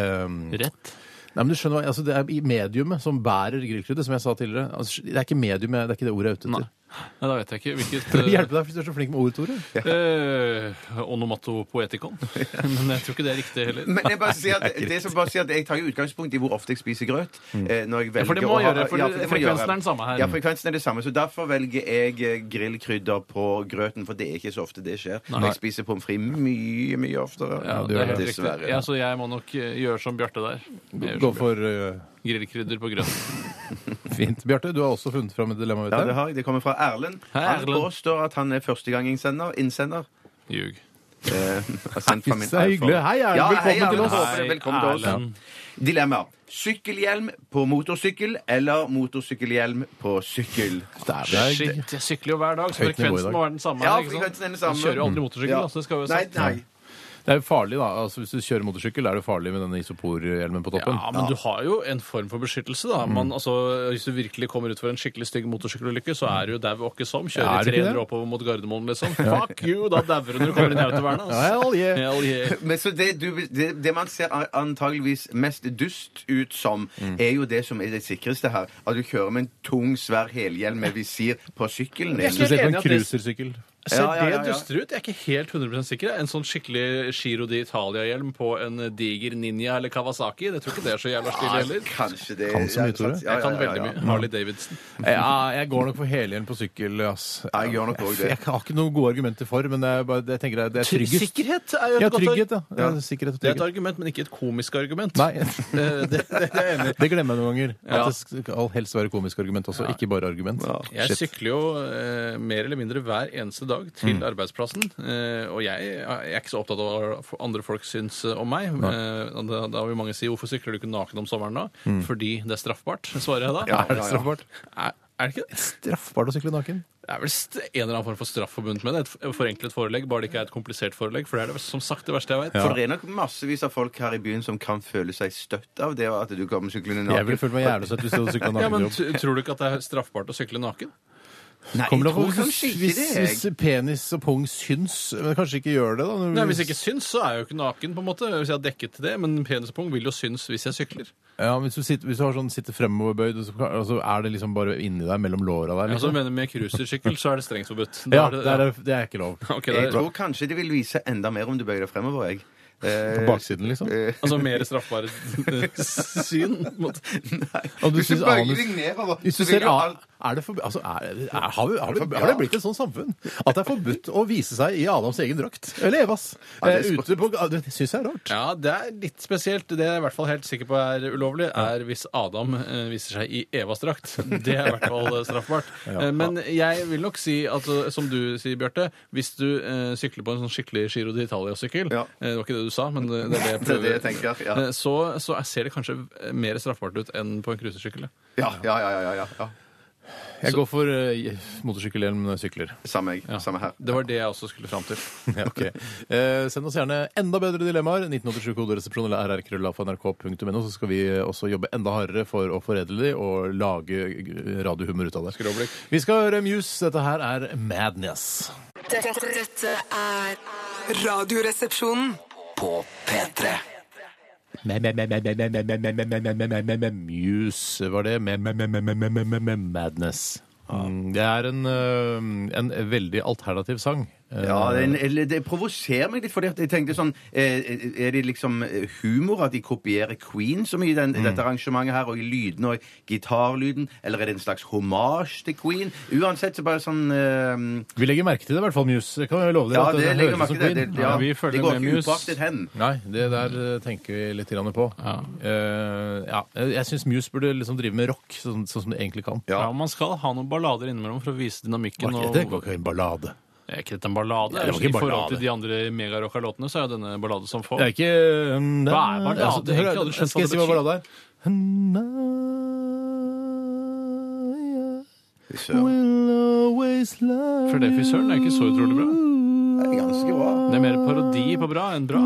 C: eh,
E: Rett.
C: Nei, men du skjønner hva, altså, Det er i mediumet som bærer grillkrydder, som jeg sa tidligere. Altså, det er ikke medium, jeg- det er ikke det ordet jeg er ute
E: Nei.
C: etter.
E: Nei, da vet jeg ikke hvilket
C: [laughs] Det hjelper deg hvis du er så flink med ord, Tore.
E: eh, eh, Onomatopoetikon. Men jeg tror ikke det er riktig heller.
D: Men jeg bare sier at, [laughs] det som bare sier at jeg tar jo utgangspunkt i hvor ofte jeg spiser grøt. eh, Når jeg velger
E: for det må
D: å ha-
E: gjøre, for
D: ja, det må
E: frekvensen
D: gjøre.
E: er den samme her.
D: Ja, frekvensen er det samme. Så derfor velger jeg eh, grillkrydder på grøten, for det er ikke så ofte det skjer. Jeg spiser pommes frites mye, mye oftere.
E: Ja,
C: det
E: det er helt riktig.
D: Dessverre.
E: Ja, så jeg må nok eh, gjøre som Bjarte der. Jeg gjør
C: Gå
E: som
C: for eh,
E: Bjarte. Grillkrydder på grønn.
C: fint. Bjarte, du har også funnet fram et dilemma. vet
D: Ja,
C: jeg.
D: det har jeg. Det kommer fra Erlend.
E: Hei,
D: Han
E: Erlend.
D: påstår at han er førstegangsinnsender. Innsender.
E: Ljug.
D: Eh, har sendt fra min
C: Så er det hyggelig.
D: iPhone.
C: Hei, Erlend.
D: Ja,
C: Velkommen
D: hei,
C: til
D: Erlend.
C: oss.
D: Håper det. Velkommen til oss.
E: Erlend.
D: Dilemma. Sykkelhjelm på motorsykkel eller motorsykkelhjelm på sykkel?
C: Dæven.
E: Shit, jeg sykler jo hver dag, så
C: Høyt nivå i
E: frekvensen
C: dag.
E: må være den samme.
D: Ja,
E: ikke sant?
D: frekvensen er den samme.
E: Jeg kjører jo aldri motorsykkel,
D: Ja.
E: da, så det
D: Nei,
E: skal jo sagt.
D: nei.
C: Det er jo farlig, da. Altså, hvis du kjører motorsykkel, er det farlig med denne isoporhjelmen på toppen.
E: Ja, men du har jo en form for beskyttelse, da. Man, altså, hvis du virkelig kommer ut for en skikkelig stygg motorsykkelulykke, så er du jo dau åkke som.
C: Ja, er
E: Kjører
C: du
E: i
C: ikke
E: 300
C: det?
E: oppover mot Gardermoen, liksom. Fuck you! Da dauer du når du kommer inn i autovernet. ass.
C: Hell yeah.
E: Hell yeah.
D: Men så det, du, det, det man ser an- antageligvis mest dust ut som, er jo det som er det sikreste her. At du kjører med en tung, svær helhjelm med visir på sykkelen. din.
E: Jeg er helt
C: Spesielt på
E: enig
C: en
E: at det-
C: cruisersykkel.
E: Ser
D: Ja, ja, ja,
E: det
D: ja.
E: dustere ut? Jeg er ikke helt 100 sikker. En sånn skikkelig Giro di Italia-hjelm på en diger Ninja eller Kawasaki, det tror ikke det er så jævla stilig heller.
D: Kanskje det
C: Kan så mye, Tore.
D: Ja,
E: Jeg kan
D: ja, ja,
E: veldig
D: ja.
E: mye. Harley Davidson.
C: Ja, jeg går nok for helhjelm på sykkel. Ass.
D: Ja, jeg gjør nok også det.
C: Jeg har ikke noen gode argumenter for, men jeg, bare, jeg tenker det er- det er tryggest.
E: Sikkerhet er jo et
C: Ja,
E: godt
C: trygghet,
E: arg-
C: ja. ja. Sikkerhet og
E: Det er et
C: trygghet.
E: argument, men ikke et komisk argument.
C: Nei,
E: Eh, [laughs]
D: [laughs]
E: Det, det, det er jeg enig i.
C: det glemmer jeg noen ganger.
E: Ja.
C: At det skal helst være komisk argument også, ikke bare argument.
E: Jeg
C: Shit.
E: sykler jo eh, mer eller mindre hver eneste dag til
D: Mm.
E: arbeidsplassen. Eh, og jeg, jeg er ikke så opptatt av hva andre folk syns eh, om meg. Eh, da, da vil mange si 'hvorfor sykler du ikke naken om sommeren da?'
D: Mm.
E: Fordi det er straffbart, svarer jeg da.
C: Er det straffbart?
E: Er, er det ikke det?
C: Straffbart å sykle naken?
E: Det er vel st- en eller annen form for straff forbundet med det. Et f- forenklet forelegg, bare det ikke er et komplisert forelegg. For det er det, som sagt det verste jeg vet.
D: For det er nok massevis av folk her i byen som kan føle seg støtt av det at du kommer syklende naken.
C: Jeg ville følt meg jævlig søt hvis du hadde sykla
E: Ja,
C: naken.
E: men
C: jobb.
E: t Tror du ikke at det er straffbart å sykle naken?
D: Nei,
C: Kommer
D: jeg
C: det an på
D: tror
C: hvis,
D: kanskje ikke
C: hvis,
D: det.
C: hvis
D: jeg.
C: penis og pung syns, men kanskje ikke gjør det, da? når-
E: Nei, Hvis jeg ikke syns, så er jeg jo ikke naken. på en måte Hvis jeg har dekket til det, Men penis og pung vil jo synes hvis jeg sykler.
C: Ja, men hvis du, sitter, hvis du har sånn, sitter fremoverbøyd, og så kan- altså, er det liksom bare inni deg, mellom låra der?
E: Altså,
C: Liksom?
E: mener Med cruisersykkel så er det strengt forbudt. Da
C: Ja,
E: er det-
C: det er, det er ikke lov.
E: ja. [laughs] Ok, da
D: Jeg
E: er,
D: tror kanskje det vil vise enda mer om du bøyer deg fremover, jeg.
C: På
D: Eh,
C: baksiden, liksom.
E: altså mer straffbare syn. på en måte.
C: Om du
D: Hvis du
C: syns
D: bøyer
C: anus
D: deg nedover,
C: ah, Hvis du
D: så
C: ser
D: vil jo
C: a-
D: alt
C: Er det forb- altså, er, er, har, vi, har, det, har det blitt et sånt samfunn at det er forbudt å vise seg i Adams egen drakt? Eller Evas?
D: det er
C: Eh, Ute på, ga- det syns jeg er rart.
E: Ja, det er litt spesielt. Det jeg er i hvert fall helt sikker på er ulovlig, er hvis Adam eh, viser seg i Evas drakt. [laughs] Det er i hvert fall eh, straffbart. Eh, Men jeg vil nok si, altså, som du sier, Bjarte, hvis du eh, sykler på en sånn skikkelig Giro d'Italia-sykkel
D: Ja.
E: eh, Det var ikke det du sa, men det, det er det
D: Det
E: jeg
D: er
E: prøver.
D: det jeg tenker, ja.
E: eh, Så, så ser det kanskje mer straffbart ut enn på en cruisesykkel. ja.
D: Ja, ja, ja. ja, ja, ja.
C: Jeg går for uh, motorsykkelhjelm når jeg sykler.
D: Samme, jeg, samme her.
E: Det var det jeg også skulle fram til.
C: Ja, [laughs] ok. Eh, send oss gjerne enda bedre dilemmaer. 1987-koderesepsjon eller rrkrøllafnrk.no, så skal vi også jobbe enda hardere for å foredle de og lage eh, radiohumor ut av det.
E: Skråblikk.
C: Vi skal høre Muse. Dette her er Madness.
G: Dette, dette er
A: Radioresepsjonen.
B: På P3.
C: Muse var det. Madness. Mm, Det er en, eh, en veldig alternativ sang. Eh,
D: Ja, det, er en- eller det provoserer meg litt, fordi at jeg tenkte sånn eh, Er det liksom humor at de kopierer Queen så mye i
C: Mm.
D: den, dette arrangementet her, og i lydene og i gitarlyden, eller er det en slags hommage til Queen? Uansett så bare sånn eh,
C: Vi legger merke til det, i hvert fall Muse. Kan jeg love dere
D: Ja,
C: at
D: det
C: den
D: legger
C: høres
D: merke
C: som
D: til. Det,
C: Queen.
D: det, ja,
E: Ja, vi følger
D: det går
E: med
D: ikke
E: Muse.
D: upåaktet hen.
C: Nei, det der eh, tenker vi litt grann på.
E: Ja.
C: Eh, ja. Jeg syns Muse burde liksom drive med rock, sånn, sånn som de egentlig kan.
E: Ja. Man skal ha noen ballader innimellom for å vise dynamikken.
C: Var ikke, det var ikke en ballade.
E: Er ikke dette en ballade?
C: Ja, det var ikke
E: I forhold
C: ballade.
E: til de andre megarocka-låtene så er jo denne ballade som få.
C: Det er ikke um, det-
E: Hva er ballade?
C: altså, det-
E: Jeg har ikke aldri skjønt
C: Skal jeg si hva
E: hva det
C: ballade er?
D: Søren.
E: For det, fy søren, er ikke så utrolig bra.
D: Det er ganske bra.
E: Det er mer parodi på bra enn bra.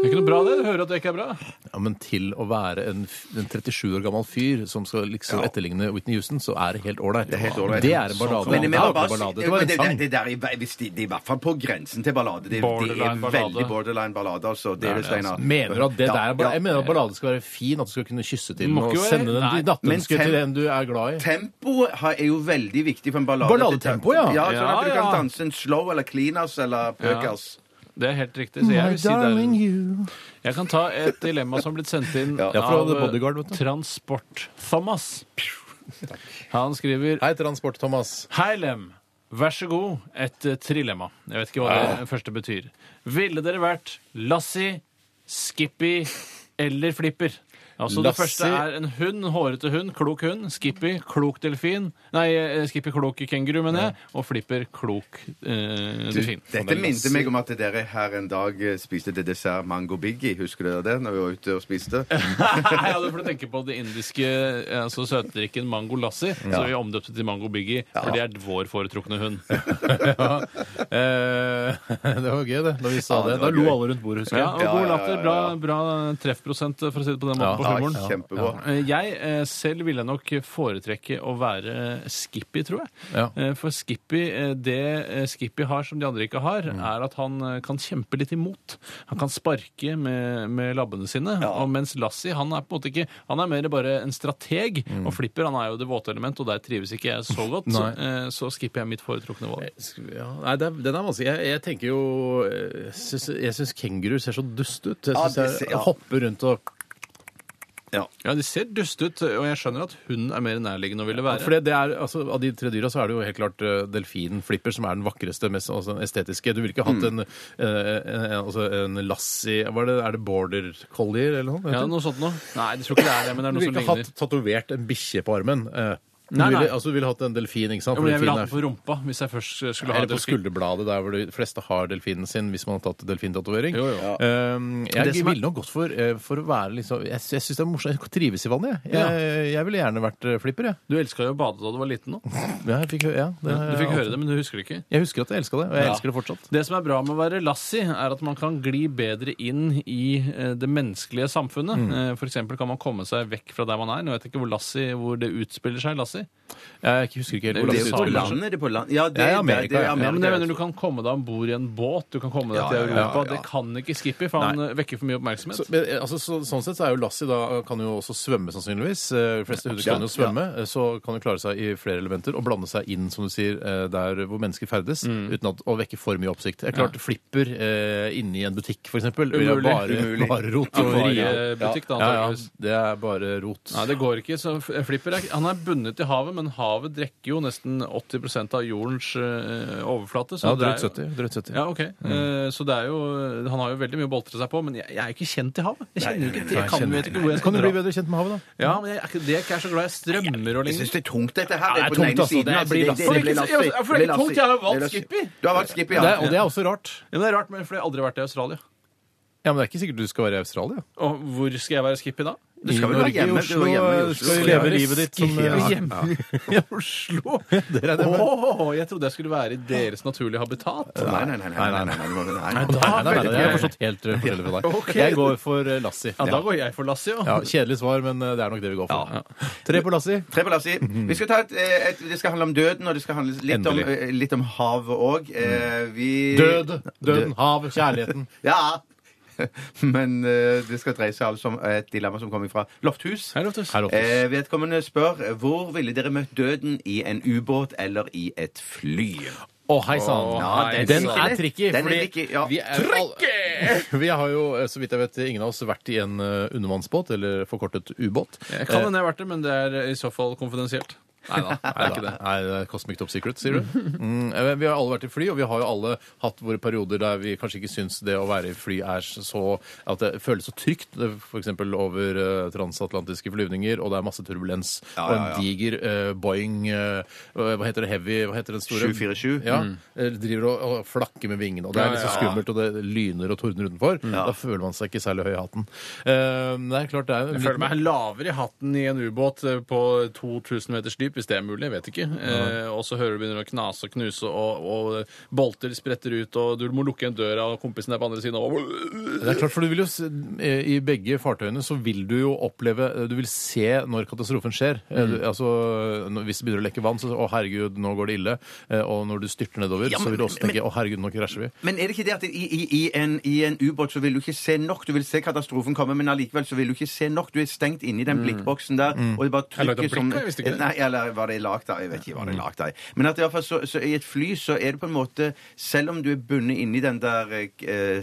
E: Det er ikke noe bra, det. Du hører at det ikke er bra.
C: Ja, men til å være en, f- en 37 år gammel fyr som skal liksom etterligne Whitney Houston, så er det helt Sånn ålreit. Det
D: helt ålreit.
C: er en ballade.
D: Men det,
C: det var ikke en
D: bare,
C: ballade,
D: det,
C: det var en
D: det,
C: sang.
D: det, det der er, hvis de, de er i hvert fall på grensen til ballade. Det, det er
E: Borderline ballade.
D: veldig borderline ballade, altså. Det er det, Steinar.
C: Mener du at det
D: Ja,
C: der er ballade?
D: ja.
C: Jeg mener at ballade skal være fin, at du skal kunne kysse til den
E: Må
C: og
E: ikke være-
C: sende den
E: Nei.
C: i nattønsket
D: Men tem-
C: til en du er glad i.
D: Tempoet har- er jo veldig viktig for en ballade.
C: Balladetempo, ja.
D: ja sånn at du
E: Ja, ja.
D: kan danse en slow eller cleaners eller pøkers.
E: Det er helt riktig. Så jeg vil si det er en... Jeg kan ta et dilemma som har blitt sendt inn
C: Ja, fra
E: av eh,
C: The Bodyguard, vet du.
E: Transport-Thomas. Han skriver
C: Hei, Transport-Thomas.
E: Hei, Lem. Vær så god, et eh, trilemma. Jeg vet ikke hva det første betyr. Ville dere vært Lassie, Skippy eller Flipper? Altså Det
C: Lassie-
E: første er en hund, hårete hund, klok hund. Skippy, klok delfin. Nei, eh, Skippy, klok kenguru, mener jeg. Og Flipper, klok eh, delfin. [laughs]
D: Dette minte meg om at dere her en dag eh, spiste til dessert mango biggie. Husker dere det? Når vi var ute og spiste.
E: Nei, ja, du får tenke på det indiske eh, altså søtdrikken mango lassi, som vi omdøpte til mango biggie, for det er vår foretrukne hund.
C: Ja. Eh, [laughs] det var gøy, det. Da vi sa
D: Ja,
C: det.
D: det
C: Da
D: var
C: lo
D: gøy.
C: alle rundt bordet, husker jeg.
E: Ja, og
D: Ja,
E: god
D: ja, ja,
E: latter.
D: ja,
E: Bra,
D: ja.
E: bra treffprosent, for å si det på den
C: Ja.
E: måten, på
D: Ja,
E: humoren.
D: kjempebra.
E: Eh, Jeg eh, selv ville nok foretrekke å være eh, Skippy, tror jeg.
C: Ja.
E: Eh, For Skippy, eh, det eh, Skippy har som de andre ikke har, er at han eh, kan kjempe litt imot. Han kan sparke med, med labbene sine. Og mens Lassie, han er på en måte ikke Han er mer bare en strateg. Og Flipper, han er jo det våte element, og der trives ikke jeg så godt.
C: Nei.
E: Eh, Så Skippy er mitt foretrukne valg.
C: Sk- Ja, nei, det er, den er vanskelig. Jeg, jeg tenker jo eh, Jeg syns- Jeg syns kenguruer ser så dust ut. Jeg
D: Ja,
C: syns
D: det
C: jeg-
D: ser-
C: jeg
D: ja.
C: hopper rundt og
E: Ja, de ser duste ut, og jeg skjønner at hun er mer nærliggende å ville være.
C: For det, det er, altså, Av de tre dyra så er det jo helt klart eh, delfinen Flipper som er den vakreste, mest altså, den estetiske. Du ville ikke
E: Mm.
C: hatt en, eh, en, en, altså, en lassie hva er, det, er det border collier eller noe?
E: Ja,
C: heter det?
E: noe sånt noe. Nei, jeg tror ikke det er det, men det
C: du
E: er noe
C: ville
E: som
C: ikke
E: ligner.
C: hatt tatovert en bikkje på armen. eh. Du
E: Nei, nei.
C: ville, altså, du ville hatt en delfin, ikke sant?
E: Jo,
C: For
E: men jeg ville
C: delfin
E: hatt den på rumpa hvis jeg først skulle ha
C: eller på
E: delfin.
C: skulderbladet, der hvor de fleste har delfinen sin hvis man har tatt delfintatovering.
E: Jo, jo.
C: Um,
E: Det
C: jeg
E: som er-
C: ville nok gått for, eh, for å være liksom Jeg, sy- jeg syns det er morsomt. Jeg trives i vannet, jeg.
E: Ja.
C: Jeg, jeg ville gjerne vært eh, flipper, jeg.
E: Du elska jo å bade da du var liten nå.
C: Ja, jeg fikk, hø- ja, det,
E: Du fikk høre det, men du husker det ikke.
C: Jeg husker at jeg elska det, og jeg
E: Ja.
C: elsker det fortsatt.
E: Det som er bra med å være Lassie, er at man kan gli bedre inn i eh, det menneskelige samfunnet. Eh, For eksempel kan man komme seg vekk fra der man er. Nå vet jeg ikke hvor Lassie, hvor det utspiller seg, Lassie, Taxi?
C: Jeg husker ikke helt hvor
D: Det
C: det
D: er jo på
E: Samuelsen.
D: landet, det er på land... Ja, det
C: Ja, i
D: er
C: Amerika,
D: det er
C: ja.
E: Ja, men jeg mener Du
D: altså.
E: kan komme deg om bord i en båt, du kan komme deg
D: Ja,
E: til
D: ja, ja,
E: Europa.
D: ja.
E: Det kan ikke Skippy, for han eh, vekker for mye oppmerksomhet.
C: Så, men, altså, så, sånn sett så er jo Lassie da kan jo også svømme, sannsynligvis. Eh, De fleste hunder kan jo svømme, eh, så kan jo klare seg i flere elementer og blande seg inn som du sier, eh, der hvor mennesker ferdes,
E: Mm.
C: uten at, å vekke for mye oppsikt. Det er klart, Flipper eh, inne i en butikk, for eksempel, vil jo
E: Umulig,
C: bare,
D: umulig.
C: bare rot. og rie.
E: Akvariebutikk, da,
C: Ja, ja,
E: antakeligvis.
C: det er bare rot.
E: Nei, det går ikke. Så F- Flipper er, han er bundet til havet, men havet drekker jo nesten 80 av jordens eh, overflate. så
C: ja,
E: det
C: drøyt Mm.
E: er jo-
C: 70. Drøyt 70.
E: Ja, ok. Eh, så det er jo, han har jo veldig mye å boltre seg på, men jeg, jeg er jo ikke kjent i havet. Jeg kjenner jo ikke til, jeg kan jo vet ikke hvor jeg skal
C: Kan du bli
E: dra.
C: bedre kjent med havet, da?
E: Ja, men jeg, er ikke- det er ikke jeg så glad i. Strømmer og
D: Jeg
E: lignende.
D: syns det er tungt, dette her.
C: det er
D: på
C: tungt,
D: den ene
C: altså.
D: siden,
C: Det blir
D: altså.
C: lastig.
D: blir lastig.
E: For det er
D: Det blir
E: ikke- for det er ikke tungt,
D: lastig.
E: jeg har jo valgt
D: Det er lastig.
E: Skippy.
D: Du har valgt Skippy,
C: Det er, og
D: ja.
C: det er også rart.
E: Ja, men det er rart, men for jeg har aldri vært i Australia.
C: Ja, Men det er ikke sikkert du skal være i Australia.
E: Og hvor skal jeg være Skippy da?
D: Du skal vel være hjemme, du er
C: Oslo,
D: hjemme i Oslo.
C: skal du
E: Ja,
C: leve livet ditt som
E: Skippy
C: eh,
E: hjemme i Oslo?
C: [laughs] det regner jeg med.
E: Åh, jeg trodde jeg skulle være i deres naturlige habitat.
D: Nei, nei, nei. nei, nei, nei, nei, nei, nei, nei.
C: Nei, nei, nei, nei,
E: vet
C: det har jeg
E: jeg.
C: forstått helt eh, forskjellig fra deg.
E: Ok.
C: Jeg går for eh, Lassie.
E: Ja, da går jeg for Lassie, jo.
C: Ja, Kjedelig svar, men eh, det er nok det vi går for.
E: Ja.
C: Tre på Lassie.
D: Tre på Lassie. Vi skal ta et, eh, et, det skal handle om døden, og det skal handle litt, om,
C: Endelig.
D: eh, litt om havet òg. Vi
C: Død, døden, hav,
E: [laughs]
C: kjærligheten.
D: Ja. [laughs] Men eh, det skal dreie seg altså om et dilemma som kommer fra Lofthus.
E: Hei, Loftus.
C: Her oppe.
D: Eh, vedkommende spør hvor ville dere møtt døden i en ubåt eller i et fly?
C: Å, hei sann.
E: Ja,
D: den
C: Den
D: er
C: er
D: lett.
C: tricky.
D: Den er
C: fordi
D: tricky, ja.
C: vi er all- [laughs] Vi har jo, eh, så vidt jeg vet, ingen av oss vært i en eh, undervannsbåt, eller forkortet ubåt.
E: Jeg kan hende jeg har vært det, men det er i så fall konfidensielt. Nei da, det er ikke det.
C: Nei, det er Cosmic Top Secret, sier du? Mm, eh, men vi har alle vært i fly, og vi har jo alle hatt våre perioder der vi kanskje ikke syns det å være i fly er så At det føles så trygt, f.eks. over eh, transatlantiske flyvninger, og det er masse turbulens,
D: Ja, ja, ja.
C: og en diger eh, Boeing eh, Hva heter det? Heavy? Hva heter den store?
D: 747.
C: Ja, eh, driver og, og flakker med vingene, og det er litt så skummelt, og det lyner og tordner utenfor. Da føler man seg ikke særlig høy i hatten. Eh, det er klart det er
E: Jeg føler meg lavere i hatten i en ubåt eh, på 2000 meters dyp, hvis det er mulig. Jeg vet ikke. Eh, og så hører du begynner å knase og knuse, og, og bolter spretter ut, og du må lukke igjen døra, og kompisen er på andre siden, og
C: Det er klart, for du vil jo, s- eh, I begge fartøyene så vil du jo oppleve eh, Du vil se når katastrofen skjer. Eh, Du, altså, når- Hvis det begynner å lekke vann, så 'Å, herregud, nå går det ille'. Eh, Og når du styrter nedover,
D: Ja,
C: så vil du
D: men-
C: også tenke 'Å, herregud, nå krasjer vi'.
D: Men er det ikke det at i, i, i en, i en ubåt så vil du ikke se nok? Du vil se katastrofen komme, men allikevel så vil du ikke se nok. Du er stengt inne i den blikkboksen der. Og det bare
E: Jeg
D: trykket
E: lagde blikk,
D: som
E: jeg visste ikke det.
D: Nei, eller var det lagd av? Jeg vet ikke hva det er lagd av. Men at i, hvert fall så, så i et fly så er det på en måte Selv om du er bundet inne i den der eh,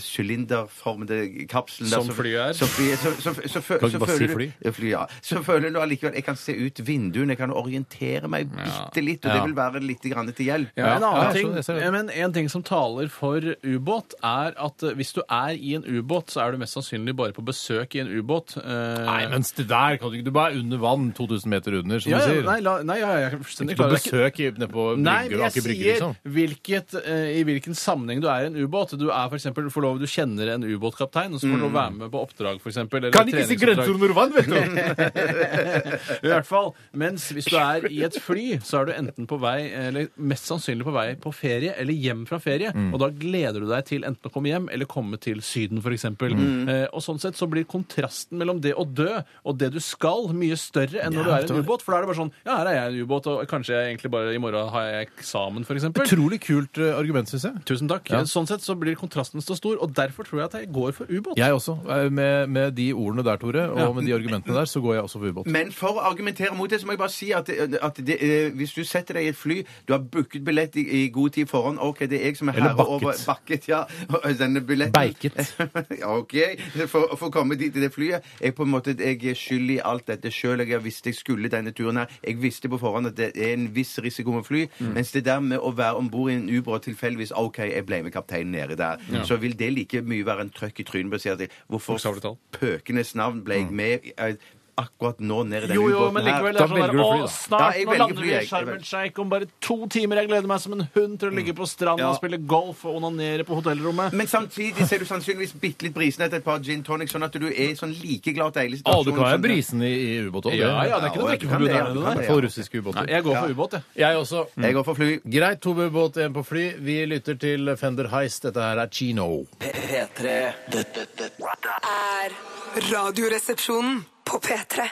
D: sylinderformede kapselen der,
E: Som flyet er.
D: Som flyet, så, så, så, så, fø-
C: Kan
D: så
C: ikke bare
D: føler
C: si
D: du
C: fly.
D: ja, fly, ja. Så føler du allikevel Jeg kan se ut vinduene, jeg kan orientere meg bitte litt, og det
C: Ja.
D: vil være litt grann til hjelp.
E: ja, en
C: Ja,
E: annen
C: jeg
E: ting,
C: skjønner, jeg ser det.
E: ja, men en ting som taler for ubåt, er at eh, hvis du er i en ubåt, så er du mest sannsynlig bare på besøk i en ubåt. Eh,
C: Nei, mens det der kan du ikke Du bare er under vann 2000 meter under, som
E: ja,
C: du
E: ja,
C: sier.
E: nei, la, nei, ja, jeg er
C: Ikke på
E: fullstendig klar. Det er ikke-
C: besøk i- nede på brygger
E: Nei, men
C: og
E: jeg
C: Aker Brygge,
E: sier
C: liksom.
E: hvilket, eh, i hvilken sammenheng du er i en ubåt. Du er for eksempel, for lov, du kjenner en ubåtkaptein, og så får du lov å være
C: Mm.
E: med på oppdrag, for eksempel. eller treningsoppdrag.
C: under vann, vet
D: [laughs]
C: du!
E: I hvert fall. Mens hvis du er i et fly, så er du enten på vei, eller mest sannsynlig på vei på ferie, eller hjem fra ferie.
C: Mm.
E: Og da gleder du deg til enten å komme hjem, eller komme til Syden, for eksempel.
C: Mm.
E: Eh, og sånn sett så blir kontrasten mellom det å dø og det du skal, mye større enn når du er i en ubåt. For da er det bare sånn, ja, her er jeg i en ubåt, og kanskje jeg egentlig bare i morgen har jeg eksamen, for eksempel.
C: Utrolig kult eh, argument, syns jeg.
E: Tusen takk. Sånn sett så blir kontrasten så stor, og derfor tror jeg at jeg går for ubåt.
C: Jeg også. Eh, Med, med de ordene der, Tore, og
E: Ja.
C: med de argumentene der, så går jeg også for ubåt.
D: Men for å argumentere mot det, så må jeg bare si at, at det, eh, hvis du setter deg i et fly, du har booket billett i, i god tid forhånd OK, det er jeg som er
C: Eller
D: herre
C: bakket.
D: over Bakket, ja. [laughs] og Denne billetten
C: Beiket.
D: [laughs] Ja, OK. For, for å komme dit i det flyet Jeg på en måte, jeg er skyld i alt dette sjøl. Jeg visste jeg skulle denne turen her. Jeg visste på forhånd at det er en viss risiko med fly. Mens det der med å være om bord i en ubåt tilfeldigvis OK, jeg ble med kapteinen nede der. Så vil det like mye være en trøkk i trynet på å si at jeg- hvorfor
E: Bokstavelig talt.
D: pøkenes navn ble jeg med eh, akkurat nå ned i den
E: Jo, jo,
D: ubåten
E: men
D: her.
E: likevel det
C: Da
E: er sånn
C: velger du
E: der,
C: fly,
E: Å,
C: da.
D: Ja,
E: snart
D: jeg
E: nå
D: velger
E: lander
D: fly,
E: vi i
D: jeg.
E: Sharm
D: Jeg
E: el Sheikh om bare to timer. Jeg gleder meg som en hund til å ligge på stranda
D: Ja.
E: og spille golf og onanere på hotellrommet.
D: Men samtidig ser du sannsynligvis bitte litt brisen etter et par gin tonic, sånn at du er i sånn like glad deilig
C: Å, du kan være
D: sånn-
C: brisen i, i ubåt òg.
E: Ja, ja,
D: Ja, du
E: det er ikke noe
D: kan
E: drikkeforbud
D: det, ja,
E: der
D: du kan det,
E: nede. der.
C: I
D: ja.
C: hvert fall russiske
E: Nei,
C: ubåter.
E: jeg går for ubåt, jeg.
C: Jeg også.
D: Jeg går for fly.
C: Greit, to ubåt, én på fly. Vi lytter til Fender Heist. Dette her er Chino.
B: P3. Dette, dette
G: er Radioresepsjonen på P3.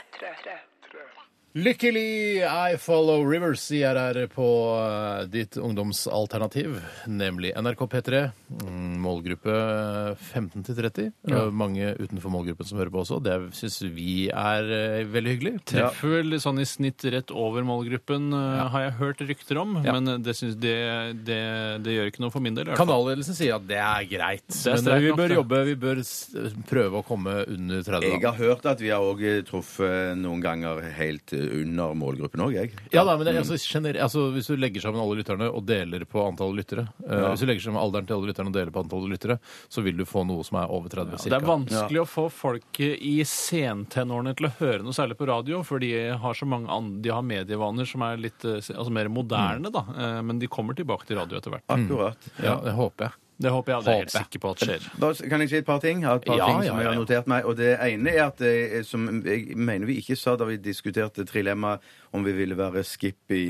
C: Lykkelig I Follow Rivers sier her på eh, ditt ungdomsalternativ, nemlig NRK P3. mm, Målgruppe 15 til 30. Det er Mange utenfor målgruppen som hører på også. Det syns vi er eh, veldig hyggelig.
E: Treffer vel sånn i snitt rett over målgruppen, eh, har jeg hørt rykter om. Men eh, det, synes, det, det, det gjør ikke noe for min del. i hvert fall.
C: Kanalledelsen sier at det er greit,
E: er
C: men vi
E: sterkt nok,
C: bør
E: det.
C: jobbe, vi bør s- prøve å komme under 30.
D: Jeg
C: da.
D: har hørt at vi har også eh, truffet noen ganger helt eh, under målgruppen òg, jeg.
C: Ja, da, men det, er altså, gener- altså, Hvis du legger sammen alle lytterne og deler på antall lyttere eh, Hvis du legger sammen alderen til alle lytterne og deler på antall lyttere, så vil du få noe som er over 30
E: Det
C: cirka.
E: er vanskelig å få folk i sentenårene til å høre noe særlig på radio, for de har så mange an- de har medievaner som er litt eh, altså mer moderne, da. Eh, Men de kommer tilbake til radio etter hvert.
D: Akkurat.
C: Ja, det håper jeg.
E: Det håper jeg. Det er jeg helt
C: Håper.
E: sikker på at skjer.
D: Bare, s- kan jeg si et par ting? Jeg har et par
C: Ja,
D: ting som
C: ja,
D: jeg
C: ja.
D: har notert meg. Og det ene er at eh, som jeg mener vi ikke sa da vi diskuterte trilemma om vi ville være Skippy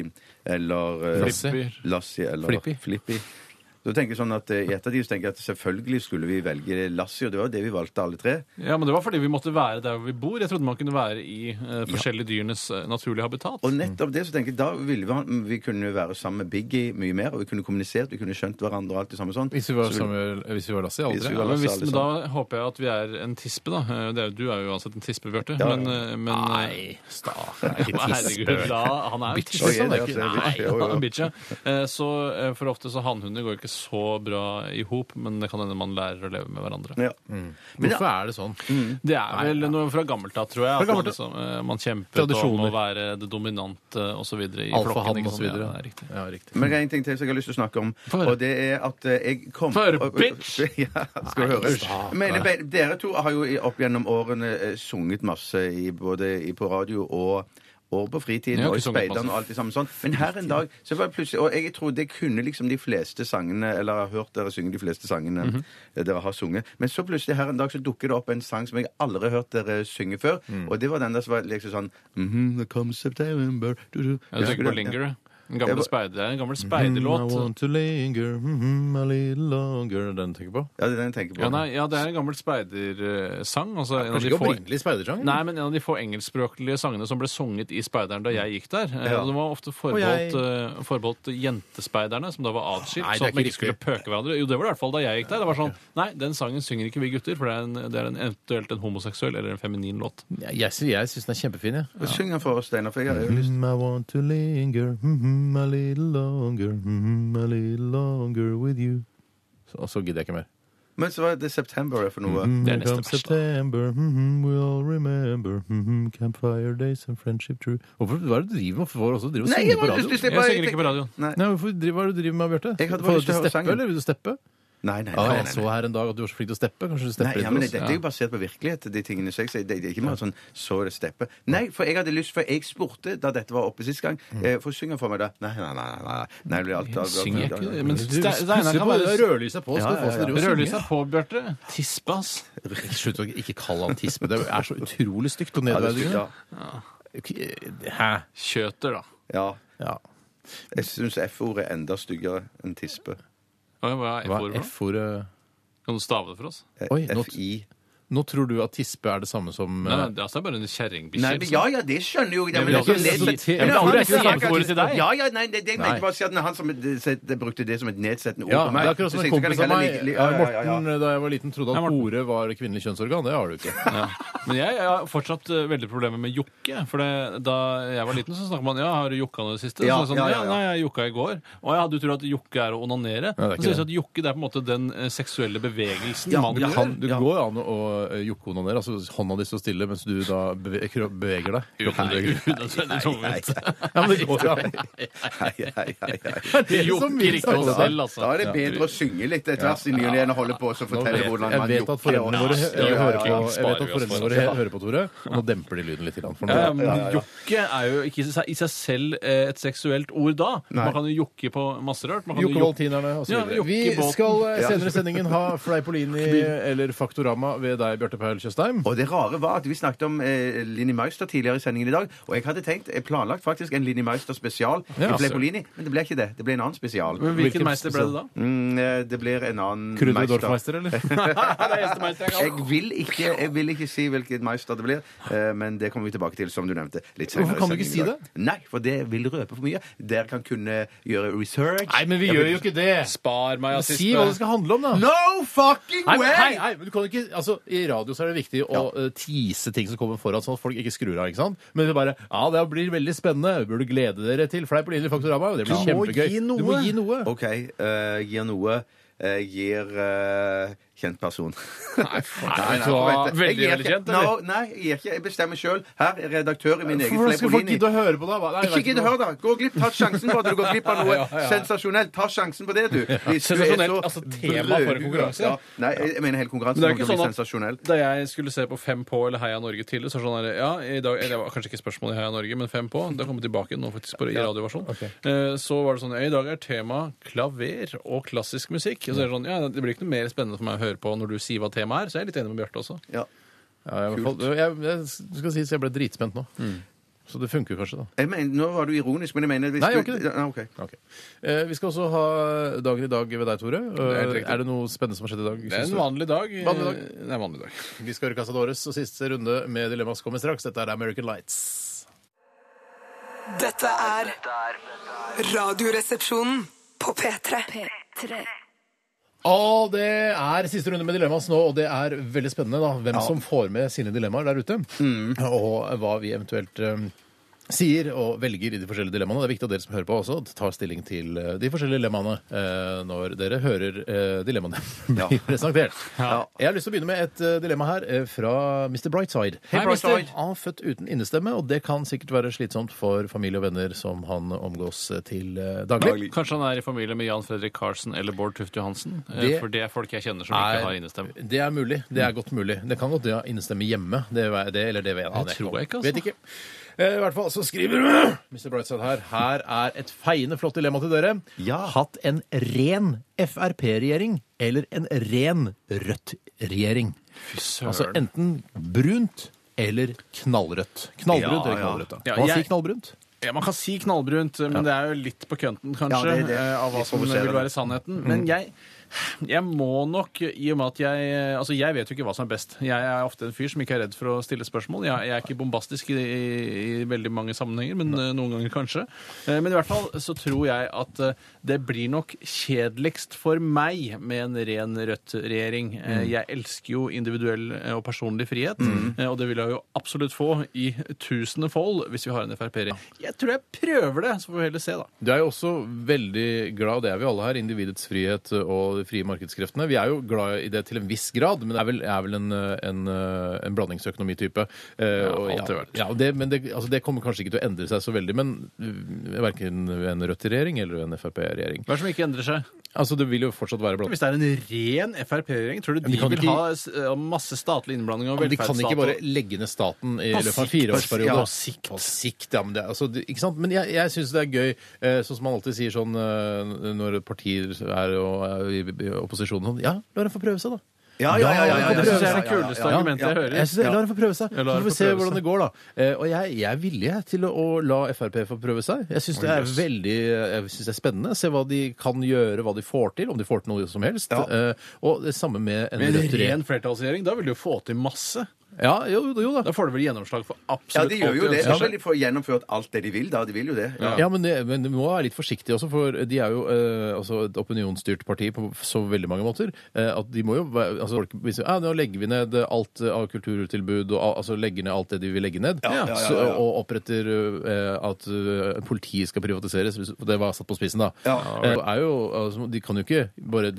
D: eller eh,
C: Lassie.
D: Lassie eller
C: Flippy.
D: Flippy. Så tenker jeg sånn at eh, I ettertid så tenker jeg at selvfølgelig skulle vi velge Lassie, og det var det vi valgte alle tre.
E: Ja, men Det var fordi vi måtte være der hvor vi bor. Jeg trodde man kunne være i eh, forskjellige dyrenes eh, naturlige habitat.
C: Mm.
D: Og nettopp det så tenker jeg, da ville vi, vi kunne være sammen med Biggie mye mer, og vi kunne kommunisert, vi kunne skjønt hverandre og alt det samme sånn.
C: Hvis vi var,
D: Så ville-
C: Samuel, hvis vi var Lasse i
D: Hvis
C: aldre.
D: vi
E: Ja,
C: Ja,
D: var-
E: men
D: så
E: hvis,
D: er det
E: Da håper jeg at vi er en tispe, da. Eh, Det er, jo- du er jo uansett en tispe, Bjarte.
D: Ja, ja.
E: Men, eh, men
C: Nei,
E: [laughs]
C: stakkar.
E: Nei, Herregud, la, han er jo
C: Bitch,
E: bitch.
C: liksom.
E: han er
C: Det er
E: ikke-
D: altså,
E: Nei,
D: [laughs] bitch, jo, jo.
E: han er [laughs] bitch, ja. Eh, Så eh, for ofte så hannhunder går ikke så bra i hop, men det kan hende man lærer å leve med hverandre.
D: Ja. Men det-
C: Hvorfor er det sånn?
E: Det er vel noe fra gammelt av, tror jeg. At
C: Fra
E: man,
C: gammelt
E: liksom, eh, man kjemper om
C: Tradisjoner.
E: å være det dominante eh, osv. i flokken.
C: Alfahann
E: ikke
C: og så
E: sant? Ja,
C: videre.
E: det er riktig.
C: Ja, riktig.
D: Men det er en ting til som jeg har lyst til å snakke om,
E: Få høre.
D: og det er at eh, jeg kom
E: Få høre,
D: og- og-
E: bitch!
D: [laughs] Ja, skal du høre. Men be- dere to har jo i- opp gjennom årene eh, sunget masse i, både i, på radio og og på
E: Jeg
D: fritiden
E: har
D: og i
E: ikke sunget
D: speideren
E: masse.
D: og alt det samme sånn. Men her en dag så var det plutselig Og jeg trodde jeg kunne liksom de fleste sangene, eller har hørt dere synge de fleste sangene eh,
E: Mhm.
D: dere har sunget. Men så plutselig her en dag så dukker det opp en sang som jeg aldri har hørt dere synge før.
E: Mm.
D: Og det var den der som var liksom sånn mhm, there comes September du, du.
E: Ja, Du
D: Husker
E: tenker på
D: den?
E: Linger,
D: Ja.
E: ja. Den gamle
D: Jeg var-
E: speider, det er en gammel
C: Mm, I
E: speiderlåt.
C: want to linger mm, a little longer. Den tenker jeg på.
D: Ja, det er den jeg tenker på.
E: Ja, nei, ja, det er en gammel speidersang. Altså, en av
C: Kanskje
E: de
C: ikke
E: få
C: opprinnelig speidersang?
E: Nei, men en av de få engelskspråklige sangene som ble sunget i Speideren da jeg gikk der. Eh,
D: Ja.
E: og Den var ofte
C: jeg-
E: forbeholdt, eh, forbeholdt jentespeiderne, som da var atskilt.
C: Nei, det er
E: sånn at man
C: ikke
E: ikke skulle pøke hverandre. Jo, det var det i hvert fall da jeg gikk der. Det var sånn, Nei, den sangen synger ikke vi gutter, for det er, en, det er en eventuelt en homoseksuell eller en feminin låt.
C: Jeg, jeg, jeg syns den er kjempefin, jeg.
D: Ja. Syng den for oss, Steinar. for jeg har jo lyst-
C: Mm, I want to linger mm, a little longer, mm, a little longer with you. Så, og så gidder jeg ikke mer.
D: Men så var det September for noe.
C: Mm,
E: Det
C: here
E: er neste
C: comes
E: vers, da.
C: September, mm, we all remember mm, campfire days and friendship true. Hvorfor hva er det du driver med? Hvorfor også driver og
D: Nei,
C: synger
D: jeg
C: på
D: har lyst
C: radio?
D: til å
E: Jeg
D: slippe
E: synger ikke på radioen.
D: Nei,
C: Nei, hvorfor driver, Hva er det du driver med, Bjarte?
D: Jeg hadde bare
C: Får
D: lyst til å høre
C: steppe,
D: sangen.
C: eller vil du steppe?
D: nei, nei.
C: Ah,
D: nei,
C: jeg
D: nei,
C: så
D: nei.
C: her en dag at du var så flink til å steppe. Kanskje du
D: Nei,
C: stepper
D: ja, men
C: litt? for
D: Dette
C: oss?
D: er jo basert på virkelighet. de tingene som jeg sier. Det det er ikke bare sånn så det stepper. Nei, for jeg hadde lyst For jeg spurte da dette var oppe sist gang eh, For syng den for meg, da. Nei, nei, nei. nei, nei, nei det blir alt, alt, alt,
E: Synger
D: alt,
E: jeg ikke
D: alt,
E: det?
D: alt.
E: Men
C: Du,
E: Ste-
C: husk-
E: Steinar
C: husk
E: kan
C: på
E: bare
C: rødlyset på, så du får oss til å drive og
E: Rødlyset
C: synge.
E: er på, Bjarte. Tispe, ass.
C: Slutt å ikke kalle han tispe. Det er så utrolig stygt og
D: Ja, det
C: nedverdigende.
D: syns- ja.
C: eh, Hæ?
E: Kjøter, da.
D: ja.
C: Ja.
D: Jeg syns F-ordet er enda styggere enn tispe.
E: Oi, Hva er
C: Hva
E: F-ordet?
C: er
E: for noe?
C: F-ordet?
E: Kan du stave det for oss?
D: Eh,
C: Oi, nå-
D: FI.
C: Nå tror du at tispe er det samme som
E: Nei,
C: eh,
E: det er altså bare en kjerringbikkje.
D: Nei, men, ja ja, det skjønner jo jeg.
E: men det er
D: altså,
E: ikke-
D: ned-
E: så-
D: Men han
E: ja, men det andre er ikke det
D: sier
E: samme
D: ikke at-
E: ordet til deg.
D: Ja, ja, nei, det, det jeg
C: Nei.
D: mente bare å si at han som det, brukte det som et nedsettende ord
C: Ja,
D: på
C: det
D: meg
C: er akkurat som
D: så
C: en
D: tenkte jeg
C: kompis av
D: heller
C: meg.
D: like- ja, ja, ja, ja. [laughs]
C: Morten eh, da jeg var liten trodde
E: Ja,
C: at
E: Morten.
C: ordet var kvinnelig kjønnsorgan. Det har du ikke.
E: Men jeg, jeg har fortsatt eh, veldig problemer med jokke. For det, da jeg var liten, så snakket man ja, har du jokka nå i det siste?
D: Ja,
E: så er det sånn,
D: ja,
E: ja,
D: ja, ja.
E: Nei, jeg jokka i går. Og jeg hadde jo trodd at jokke er å
C: Nei, det
E: onanere.
C: er
E: Men
C: ikke
E: så sies
C: det.
E: det at jokke det er på en måte den eh, seksuelle bevegelsen
D: Ja,
E: man
D: ja.
E: gjør.
C: Han, du
D: Ja.
C: går an å eh, jokke onanere, altså hånda di står stille mens du da beve kro- beveger deg. [laughs] Kroppen beveger seg.
E: Unødvendig tungvint. [laughs]
C: Ja, men det går jo an.
D: Hei, hei, hei, hei.
C: [laughs]
E: Vi jokker
C: sånn
E: ikke oss selv, altså.
D: sånn. Da er det bedre å synge litt etter hvert i ny og ne enn å holde på og så
C: Nå
D: fortelle
C: vet-
D: hvordan
C: Jeg
D: man
C: vet at foreldrene våre
E: Ja,
C: eller
E: ja,
C: hører
E: ja,
C: på,
E: ja.
C: jeg vet at foreldrene våre
E: Ja.
C: hører på, Tore. Og nå demper de lyden litt. grann, For nå.
E: Ja, men Jokke er jo ikke i seg- i seg selv eh, et seksuelt ord da. Man kan jo jokke på masse rart. Man kan jo
C: Jokke
E: jokke-
C: Valtinerne og så
E: Ja,
C: videre.
E: Jokke
C: Vi
E: Bolten.
C: [laughs] skal eh, senere i sendingen ha Fleipolini eller Faktorama ved deg, Bjarte Paul Tjøstheim.
D: Og det rare var at vi snakket om eh, Linni Meister tidligere i sendingen i dag, og jeg hadde tenkt, jeg planlagt faktisk en Linni Meister spesial
C: Ja,
D: med
C: altså.
D: Fleipolini, men det ble ikke det. Det ble en annen spesial.
E: Men
C: Hvilken
E: hvilken meister ble det da?
C: spesial?
D: Mm, eh, det blir en annen
C: Krudder
D: Meister.
C: Dorfmeister, eller?
E: det er eneste meister jeg
D: Jeg vil, ikke, jeg vil ikke si hvilken Meister det blir, eh, men det kommer vi tilbake til, som du nevnte. litt senere
C: Hvorfor kan du ikke
D: i sendingen i
C: si
D: dag. Nei, for det vil røpe for mye. Dere kan kunne gjøre research.
C: [laughs] Nei, men vi gjør jo ikke det!
E: Spar meg, assistent.
C: Si hva det skal handle om, da!
D: No fucking
C: Nei,
D: way!
C: men, hei, hei, men du kan ikke, altså, I radio så er det viktig å eh, tease ting som kommer foran, sånn at folk ikke skrur av. ikke sant? Men vi bare Ja, det blir veldig spennende. Vi burde glede dere til Fleip og Lille Faktorama. Det blir
D: Du må
C: kjempegøy.
D: gi
C: Du må
D: noe.
C: gi noe.
D: OK, eh, gir noe. eh, gir eh, kjent person. Nei,
C: Nei,
D: nei,
C: så
D: jeg vet det.
E: veldig,
D: Jeg gir
E: veldig
D: ikke-
E: kjent, eller?
D: No, nei, jeg gir ikke. Jeg bestemmer sjøl. Her er redaktør i min egen
C: Hvordan skal folk
D: Fleipolini.
C: gidde å høre på deg? Hva- Nei, jeg
D: Ikke
C: vet
D: gidd å høre, da! Gå glipp, Ta sjansen på at du går glipp av noe
E: [laughs] Ja, ja, ja.
D: sensasjonelt. Ta sjansen på det, du. Hvis du er
E: Sensasjonelt,
D: så
E: altså tema for en
D: brødhue.
E: konkurranse.
D: Ja. Nei, jeg mener hele konkurransen
E: Men det
D: kommer til
E: er ikke
D: å bli
E: sånn at-
D: sensasjonell.
E: Da jeg skulle se på Fem på eller Heia Norge tidligere, så er det sånn her, ja, i dag, eller det var kanskje ikke spørsmål i Heia Norge, men Fem på, det kommer tilbake nå faktisk på, i radioversjon, Eh, så var det sånn, ja, i dag er tema klaver og klassisk musikk. Og så er det sånn, ja, det blir ikke noe mer spennende for meg å høre på når du sier hva temaet er, så jeg er litt enig med Bjørte også.
D: Ja.
C: Ja, jeg, jeg, jeg, skal si, så jeg ble dritspent nå. Så det funker kanskje, da.
D: Jeg mener, nå var du ironisk, men jeg mener hvis
C: Nei,
D: du,
C: jeg gjorde ikke det.
D: Nei, ok.
C: Ok. Eh, vi skal også ha dagen i dag ved deg, Tore.
E: er helt
C: Eh,
E: riktig.
C: er det noe spennende som har skjedd i dag?
E: Det er
C: synes
E: en
C: du?
E: vanlig dag. eh,
C: Vanlig dag.
E: Det er en vanlig dag.
C: Vi skal høre Casadores og siste runde med Dilemmas kommer straks. Dette er American Lights.
G: Dette er Radioresepsjonen på P3.
C: Og det er siste runde med Dilemmas nå, og det er veldig spennende da, hvem som får med sine dilemmaer der ute.
E: Mm.
C: Og hva vi eventuelt eh, sier og velger i de forskjellige dilemmaene. Det er viktig at dere som hører på også tar stilling til eh, de forskjellige dilemmaene eh, når dere hører eh, dilemmaene [laughs] bli
D: Ja.
C: presentert. Jeg har lyst til å begynne med et eh, dilemma her eh, fra Mr. Brightside.
E: Hei, Brightside.
C: mister. Han er født uten innestemme, og det kan sikkert være slitsomt for familie og venner som han omgås eh, til eh, daglig.
E: Kanskje han er i familie med Jan Fredrik Karlsen eller Bård Tufte Johansen? eh,
C: Det-
E: For det er folk jeg kjenner som
C: Nei,
E: ikke har innestemme.
C: Det er mulig. Det er godt mulig. Det kan godt ja, innestemme hjemme. Det, er- det, eller det vet aner
E: tror jeg ikke, altså.
C: Vet ikke. Eh, I hvert fall så skriver Mr. Brightside her her er et feiende flott dilemma til dere.
D: Ja.
C: Hatt en ren Frp-regjering eller en ren Rødt-regjering. Altså enten brunt eller knallrødt. Knallbrunt
D: Ja,
C: eller
D: ja.
C: knallrødt, da.
E: Ja,
C: Hva
E: jeg-
C: sier knallbrunt?
E: Ja, Man kan si knallbrunt, men det er jo litt på kønten, kanskje,
D: Ja, det er det.
E: eh, av hva
D: Litt
E: som vil
D: provoserende. Mm.
E: være sannheten. Men jeg, jeg må nok, i og med at jeg Altså, jeg vet jo ikke hva som er best. Jeg er ofte en fyr som ikke er redd for å stille spørsmål. Jeg, jeg er ikke bombastisk i, i, i veldig mange sammenhenger, men eh, noen ganger kanskje. Eh, Men i hvert fall så tror jeg at eh, det blir nok kjedeligst for meg med en ren Rødt-regjering. Eh,
D: Mm.
E: Jeg elsker jo individuell eh, og personlig frihet, eh, og det vil jeg jo absolutt få i tusende fold hvis vi har en Frp-regjering. Jeg tror jeg prøver det, så får vi heller se, da.
C: Du er jo også veldig glad, det er vi alle her, individets frihet eh, og de frie markedskreftene. Vi er jo glad i det til en viss grad, men det er vel, er vel en, eh, en, en blandingsøkonomitype. Eh, og
E: alltid
C: ja,
E: vært.
C: ja, og det, men det, altså, det kommer kanskje ikke til å endre seg så veldig, men uh, verken en Rødt-regjering eller en Frp-regjering.
E: Hva er det som ikke endrer seg?
C: Altså, det vil jo fortsatt være blanding.
E: Hvis det er en ren Frp-regjering, tror du de,
C: de kan
E: vil
C: ikke-
E: ha s- eh, masse statlig innblanding og
C: Men De kan
E: velferdsstat?
C: ikke bare
E: og-
C: legge ned staten i
E: På
C: løpet av en
E: sikt,
C: fireårsperiode.
E: ja, på sikt.
C: På sikt, ja, men det, er- altså, det, ikke sant? Men jeg, jeg syns det er gøy, eh, sånn som man alltid sier sånn eh, når partier er og, er i, i opposisjonen sånn Ja, la dem få prøve seg, da.
D: Ja, ja, ja, ja, ja,
E: Det synes
D: ja,
E: jeg er det
D: ja, ja, ja.
E: kuleste argumentet jeg hører.
C: Jeg synes, La dem få prøve seg.
E: Ja,
C: Så
E: la dem
C: får vi
E: få
C: se
E: prøve
C: hvordan
E: seg.
C: det går, da. Eh, og jeg, jeg er villig jeg, til å, å la Frp få prøve seg. Jeg syns det er veldig jeg synes det er spennende. Se hva de kan gjøre, hva de får til, om de får til noe som helst. Eh, og det samme med en
E: Med en
C: rødt
E: ren
C: regjering.
E: flertallsregjering, da vil du jo få til masse.
C: Ja, jo, jo da.
E: Da får du vel gjennomslag for
D: Ja,
E: absolutt
D: de gjør jo
E: alt de
D: det. Da
E: ønsker
D: vil
E: seg.
D: de få gjennomført alt det de vil, da. De vil jo det. Ja.
C: Ja, men, det, men du må være litt forsiktig også, for de er jo eh, altså et opinionsstyrt parti på så veldig mange måter. Eh, at de må jo være- altså folk, hvis, ja, Nå legger vi ned alt eh, av kulturtilbud, og al- altså legger ned alt det de vil legge ned.
D: ja, ja, ja.
C: Så, og oppretter eh, at eh, politiet skal privatiseres. hvis- Det var satt på spissen, da.
D: Ja.
C: Eh, er jo, altså, de kan jo ikke bare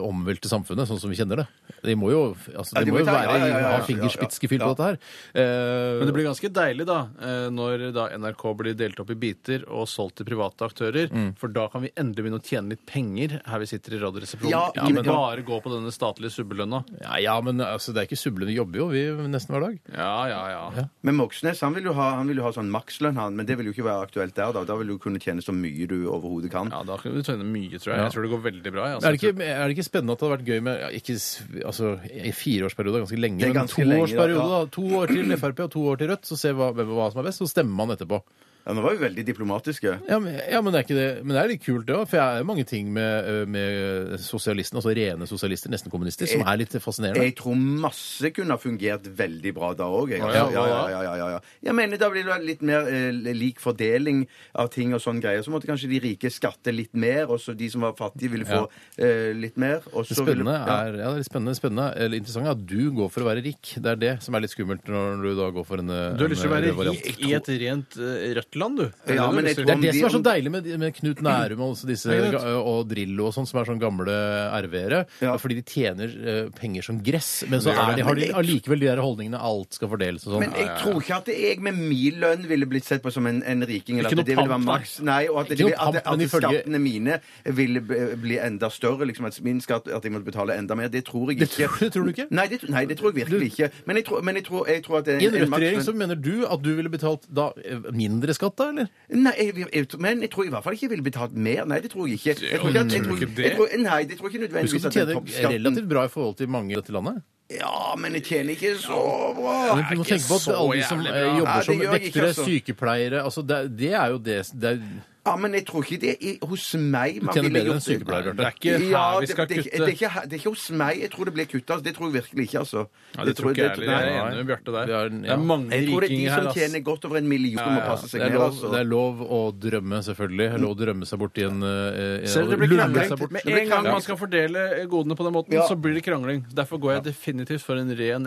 C: omvelte samfunnet sånn som vi kjenner det. De må jo, altså,
D: Ja,
C: de
D: de
C: må
D: må
C: jo
D: ta-
C: være,
D: ja, ja, ja, ja.
C: ha fingerspitsen raske fyll på dette her. Eh,
E: Men det blir ganske deilig da, eh, når da NRK blir delt opp i biter og solgt til private aktører, for da kan vi endelig begynne å tjene litt penger her vi sitter i radioresepsjonen.
D: Ja,
E: Ikke
D: men-
E: bare gå på denne statlige subbelønna.
C: ja, ja, men altså, det er ikke sublende. Vi jobber jo vi nesten hver dag.
E: Ja, ja, ja.
D: Men Moxnes han vil jo ha, han vil jo ha sånn makslønn, han, men det vil jo ikke være aktuelt der. Da Da vil du kunne tjene så mye du overhodet kan.
E: Ja, da kan du tjene mye, tror jeg. Jeg tror det går veldig bra. jeg, altså.
C: Er det, ikke, er det ikke spennende at det hadde vært gøy med ja, ikke, s- altså, i fireårsperiode er ganske lenge,
D: Det er
C: men
D: ganske lenge, da,
C: toårsperiode,
D: ja.
C: da. To år til Frp og to år til Rødt, så se hva, hvem- hva som er best, så stemmer man etterpå.
D: Ja, nå var vi veldig diplomatiske.
C: Ja, men, ja, men, det er ikke det. men det er litt kult, det òg. For jeg er mange ting med, ø, med sosialistene, altså rene sosialister, nesten kommunister, som er litt fascinerende.
D: Jeg tror masse kunne ha fungert veldig bra da òg. Jeg.
E: Å,
D: Ja,
E: ja,
D: ja, ja,
E: hva da?
D: ja, ja, ja, ja. Jeg mener da blir det litt mer eh, lik fordeling av ting og sånne greier. Så måtte kanskje de rike skatte litt mer, og så de som var fattige, ville få eh, litt mer. Og
C: Det
D: så ville-
C: spennende
D: ja.
C: er, ja, det er litt spennende, spennende, eller interessant er at du går for å være rik. Det er det som er litt skummelt når du da går for en ø,
E: Du har lyst til å
C: en, ø,
E: være
C: rød variant.
E: rik i et rent eh, rødt land, du. Er det
D: Ja,
E: det du
D: men
E: har
D: jeg
E: lyst
C: Det
E: til?
D: tror-
C: er det som er så
D: om-
C: deilig med, med Knut Nærum og, også disse,
E: Jeg vet.
C: og Drillo og sånn, som er sånn gamle RV-ere.
D: Ja.
C: Fordi de tjener eh, penger som gress, men så
E: Det gjør
C: er de,
E: det.
C: har de allikevel de der holdningene alt skal fordeles og sånn.
D: Men jeg tror ikke at jeg med min lønn ville blitt sett på som en, en riking. Eller
E: Ikke
D: at det
E: noe
D: ville være
E: pamp, nei.
D: maks. Nei, og at, det,
C: Ikke noe
D: ville- at, det-
C: pamp,
D: at
C: men ifølge-
D: skattene mine ville b- bli enda større. Liksom at min skatt, at jeg måtte betale enda mer. Det tror jeg
C: Det
D: ikke.
C: tror- det tror du ikke?
D: Nei, det, nei, det tror jeg virkelig ikke. Men jeg tror, men jeg tror, jeg tror at
C: I en Rødt-regjering
D: makslønn-
C: så mener du at du ville betalt da eh, mindre skatt, da, eller?
D: Nei, jeg, vil- jeg, men jeg tror i hvert fall ikke jeg ville betalt mer. Nei, det tror jeg ikke. Jeg tror ikke, at, jeg tror,
E: ikke det.
D: jeg tror, nei, det tror jeg
C: Husk
D: ikke
C: at
D: nødvendigvis at
C: du
D: den
C: tjener
D: toppskatten
C: relativt bra i forhold til mange i dette landet.
D: Ja, men jeg tjener ikke så bra.
C: Men du må
E: ikke
C: tenke på at
E: så
C: alle de som
E: jævlig
C: eh,
E: bra.
D: Nei,
C: jobber
D: det
C: som
D: gjør jeg ikke,
C: vektere,
D: altså.
C: sykepleiere altså det, det er jo det, det er,
D: Ja, men jeg tror ikke det er hos meg man
C: Tjener bedre
D: ville
C: enn
D: gjort det.
C: sykepleier, Bjarte.
E: Det er ikke
D: Ja,
E: her vi
D: det-
E: skal
D: det, er ikke-
E: kutte.
D: Det er, ikke, her- det er ikke hos meg. Jeg tror det blir kutta. Det tror jeg virkelig ikke, altså.
E: Ja, det tror ikke jeg heller. Jeg er
D: nei.
E: enig med Bjarte der.
C: Det er-
E: Det
C: ja.
E: er mange
D: Jeg tror det er de
E: rikinger her,
D: som tjener
E: ass.
D: godt over en million, må passe seg
C: det, er
D: ned.
C: lov,
D: altså.
C: det er lov å drømme, selvfølgelig. Det er Lov å drømme seg bort i en eh,
E: Selv om det
C: og
E: blir
C: lulle
E: krangling.
C: seg bort.
E: Med
D: Det blir
E: en gang
D: krangling.
E: man skal fordele godene på den måten,
D: Ja.
E: så blir det krangling. Derfor går jeg definitivt for en ren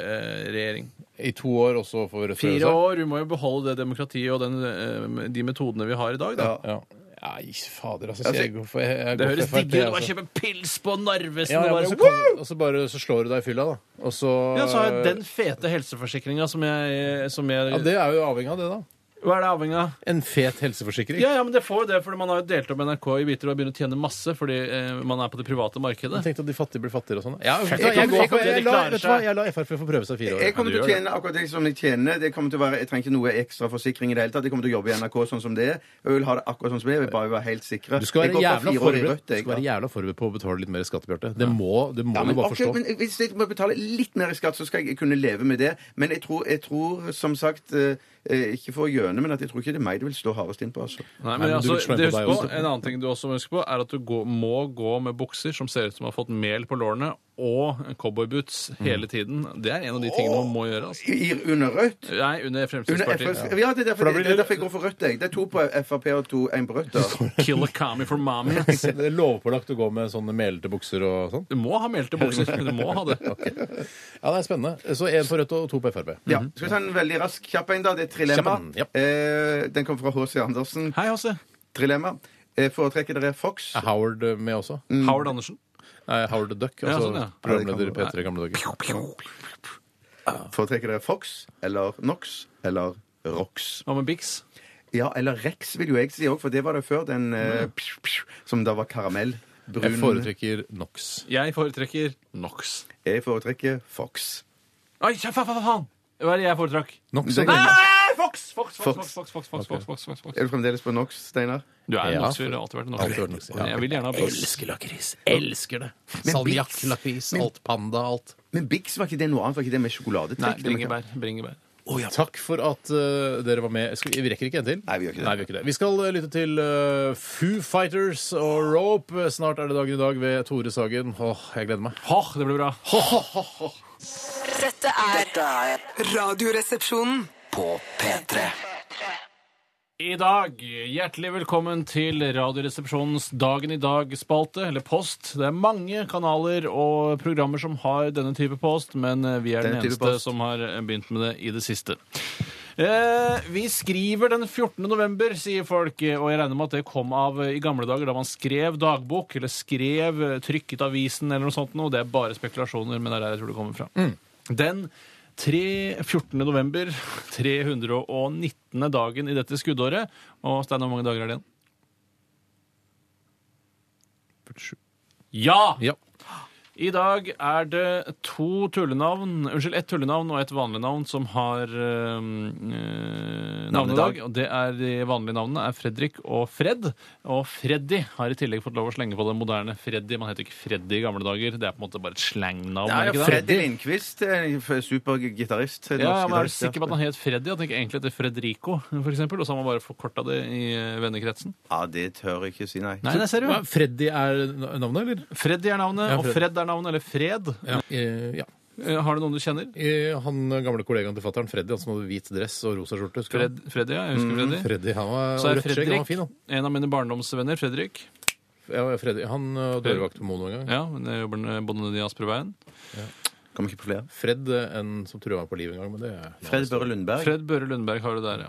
E: Frp-regjering.
C: I to år også for Rødt.
E: Fire
C: altså.
E: år, vi må jo beholde det demokratiet og den, eh, de metodene vi har i dag, da.
D: Ja.
C: Ja. Nei, fader, altså.
D: Altså,
C: jeg går for, jeg, jeg
E: Det
C: går for
E: høres
C: FRP,
E: digg ut å bare
C: altså.
E: kjøpe pils på Narvesen
C: ja, ja, men
E: og
C: så,
E: bare
C: kan, og så bare så slår du deg i fylla, da. Og så
E: ja, så har jeg den fete helseforsikringa som jeg, eh, som jeg
C: Ja, det er jo avhengig av det, da.
E: Hva er det avhengig av?
C: En fet helseforsikring.
E: Ja, ja, men det får jo det, fordi man har jo delt opp NRK i biter og begynner å tjene masse fordi eh, man er på det private markedet.
C: Tenk at de fattige blir fattigere og sånn. Ja, vet du hva,
E: Jeg
C: jeg,
E: kommer-
C: går for-
E: jeg
C: jeg, la,
E: kommer til å
C: vet du hva, jeg lar Frp få prøve seg i fire år.
D: Jeg kommer
E: Ja,
D: til
E: du
D: å
E: gjør
D: tjene akkurat det som jeg tjener. Det kommer til å være, jeg trenger ikke noe ekstra forsikring i det hele tatt. Jeg kommer til å jobbe i NRK sånn som det er. Jeg vil ha det akkurat sånn som det er. Jeg vil bare være helt sikre.
C: Du skal
D: Jeg
C: være
D: går for
C: jævla
D: fire år i
C: forberedt,
D: Rødt, jeg,
C: du skal være
D: ja.
C: jævla forberedt på å betale litt mer skatt, Bjarte. Det må, det må
D: Ja,
C: du
D: men,
C: bare
D: ok,
C: forstå.
D: men Hvis jeg må betale litt mer i skatt, så skal jeg kunne leve med det. Men jeg tror, jeg tror som sagt eh, eh, Ikke for å gjøne, men at jeg tror ikke det er meg det vil slå hardest inn på. Altså.
E: Nei,
C: Nei,
E: men
C: men du
E: altså,
C: vil slå inn på
E: det husk
C: deg
E: på,
C: også.
E: En annen ting du også må huske på, er at du gå, må gå med bukser som ser ut som har fått mel på lårene, og cowboyboots hele tiden. Det er en av de tingene man må gjøre. Altså.
D: I, i- under Rødt
E: Nei, under
D: under
E: Fremskrittspartiet.
D: FS, ja, det er, derfor,
C: da blir
D: det, er derfor jeg går for Rødt. Jeg. Det er to på Frp og to en på
C: [laughs]
D: Rødt. Da.
E: Kill a kami for [laughs] mommy.
C: [laughs] Det er lovpålagt å gå med sånne melete bukser og sånn.
E: Du må ha melte bukser. Du må ha det.
C: Ja, det er spennende. Så én på Rødt og to på Frp.
D: Ja. Skal vi ta en veldig rask kjapp en, da? Det er Trilemma.
C: Kjapp en, ja.
D: Eh, den kommer fra H.C. Andersen.
E: Hei, Hasse.
D: Trilemma. Eh, foretrekker dere Fox?
C: Er Howard eh, med også?
E: Howard Andersen.
C: Nei, Howard the Duck,
E: Ja,
C: altså
E: sånn, ja.
C: programleder i P3 i gamle dager.
D: Foretrekker dere Fox eller Nox eller Rox?
E: Hva med Bix?
D: Ja, eller Rex vil jo jeg si òg, for det var det før. Den eh, psh, psh, som da var karamell. Brun.
C: Jeg foretrekker NOx.
E: Jeg foretrekker Nox.
D: Jeg foretrekker Fox.
E: Oi, faen, faen, faen, faen! Hva er det jeg foretrakk?
C: NOx
D: Det-
C: og Grønne.
E: Nei, Fox!
D: Fox.
E: Fox, Fox, Fox, Fox, Fox, Fox, Fox, Fox, Fox, Fox.
D: Er du fremdeles på Nox, Steinar?
E: Du er en
C: Ja,
E: Nox-fyr. Du har alltid vært en
C: Alltid vært en
E: Nox.
C: Nox-fyr, ja.
E: Jeg vil gjerne ha Bix.
C: lakris. Elsker det. Salmiakk,
D: Bix-
C: lakris,
D: men-
C: alt panda, alt.
D: Men Bix var ikke det noe annet? Var ikke det med
E: Nei,
D: sjokoladetrekk?
E: bringebær. bringebær.
C: Takk for at eh, dere var med. Skal, vi- vi rekker ikke en til.
D: Nei, vi gjør ikke det.
C: vi, Vi skal eh, lytte til eh, Foo Fighters og Rope. Snart er det dagen i dag ved Tore Sagen. Åh, jeg gleder meg.
E: Åh, det blir bra.
G: Dette er
B: Dette er
G: Radioresepsjonen.
B: på P3.
E: I dag, hjertelig velkommen til Radioresepsjonens Dagen i dag-spalte, eller post. Det er mange kanaler og programmer som har denne type post, men eh, vi er den,
D: Denne type
E: eneste
D: post.
E: som har eh, begynt med det i det siste. Eh, vi skriver den 14. november, sier folk, eh, og jeg regner med at det kom av eh, i gamle dager da man skrev dagbok, eller skrev
D: Mm.
E: eh, trykket avisen eller noe sånt noe. Det er bare spekulasjoner, men det er der jeg tror det kommer fra. Den Tre- 14. november, [laughs] 319. dagen i dette skuddåret. Og Stein, hvor mange dager er det igjen? 47. Ja!
C: Ja.
E: I dag er det to tullenavn, unnskyld, ett tullenavn og ett vanlig navn som har eh, eh, navnedag. Og det er de vanlige navnene er Fredrik og Fred. Og Freddy har i tillegg fått lov å slenge på det moderne Freddy. Man het ikke Freddy i gamle dager. Det er på en måte bare et
D: Nei,
E: slangnavn. er det ikke det?
D: Freddy Lindqvist, eh, supergitarist. eh,
E: Ja, men Er du sikker på at han het Freddy? Han gikk egentlig etter Fredrico, for eksempel, og så har man bare forkorta det i eh, vennekretsen.
D: Ja, det tør jeg ikke si, nei.
E: Nei, det ser du.
C: Hva, Freddy er na- navnet, eller?
E: Freddy er navnet,
C: Ja,
E: og
C: Fred.
E: Fred er navnet, eller Fred.
C: Ja. Eh, ja.
E: Eh, Har du noen du kjenner?
C: Eh, Han gamle kollegaen til fatter'n, Freddy, han som hadde hvit dress og rosa skjorte. husker du han?
E: Fred, Freddy, ja. Jeg husker Freddy.
C: Freddy, han var
E: Så
C: Mm, og
E: er
C: rødt skjegg, han var
E: Fredrik
C: fin, han.
E: en av mine barndomsvenner. Fredrik.
C: Ja, Freddy, han og dørvakt på Mono en gang.
E: Ja, men jeg jobber eh, bonde i Asperveien.
D: Kommer ikke på flere.
C: Fred, eh, en som trua meg på livet en gang, men det er
D: Fred Børre Lundberg.
E: Fred Børre Lundberg har du der, ja.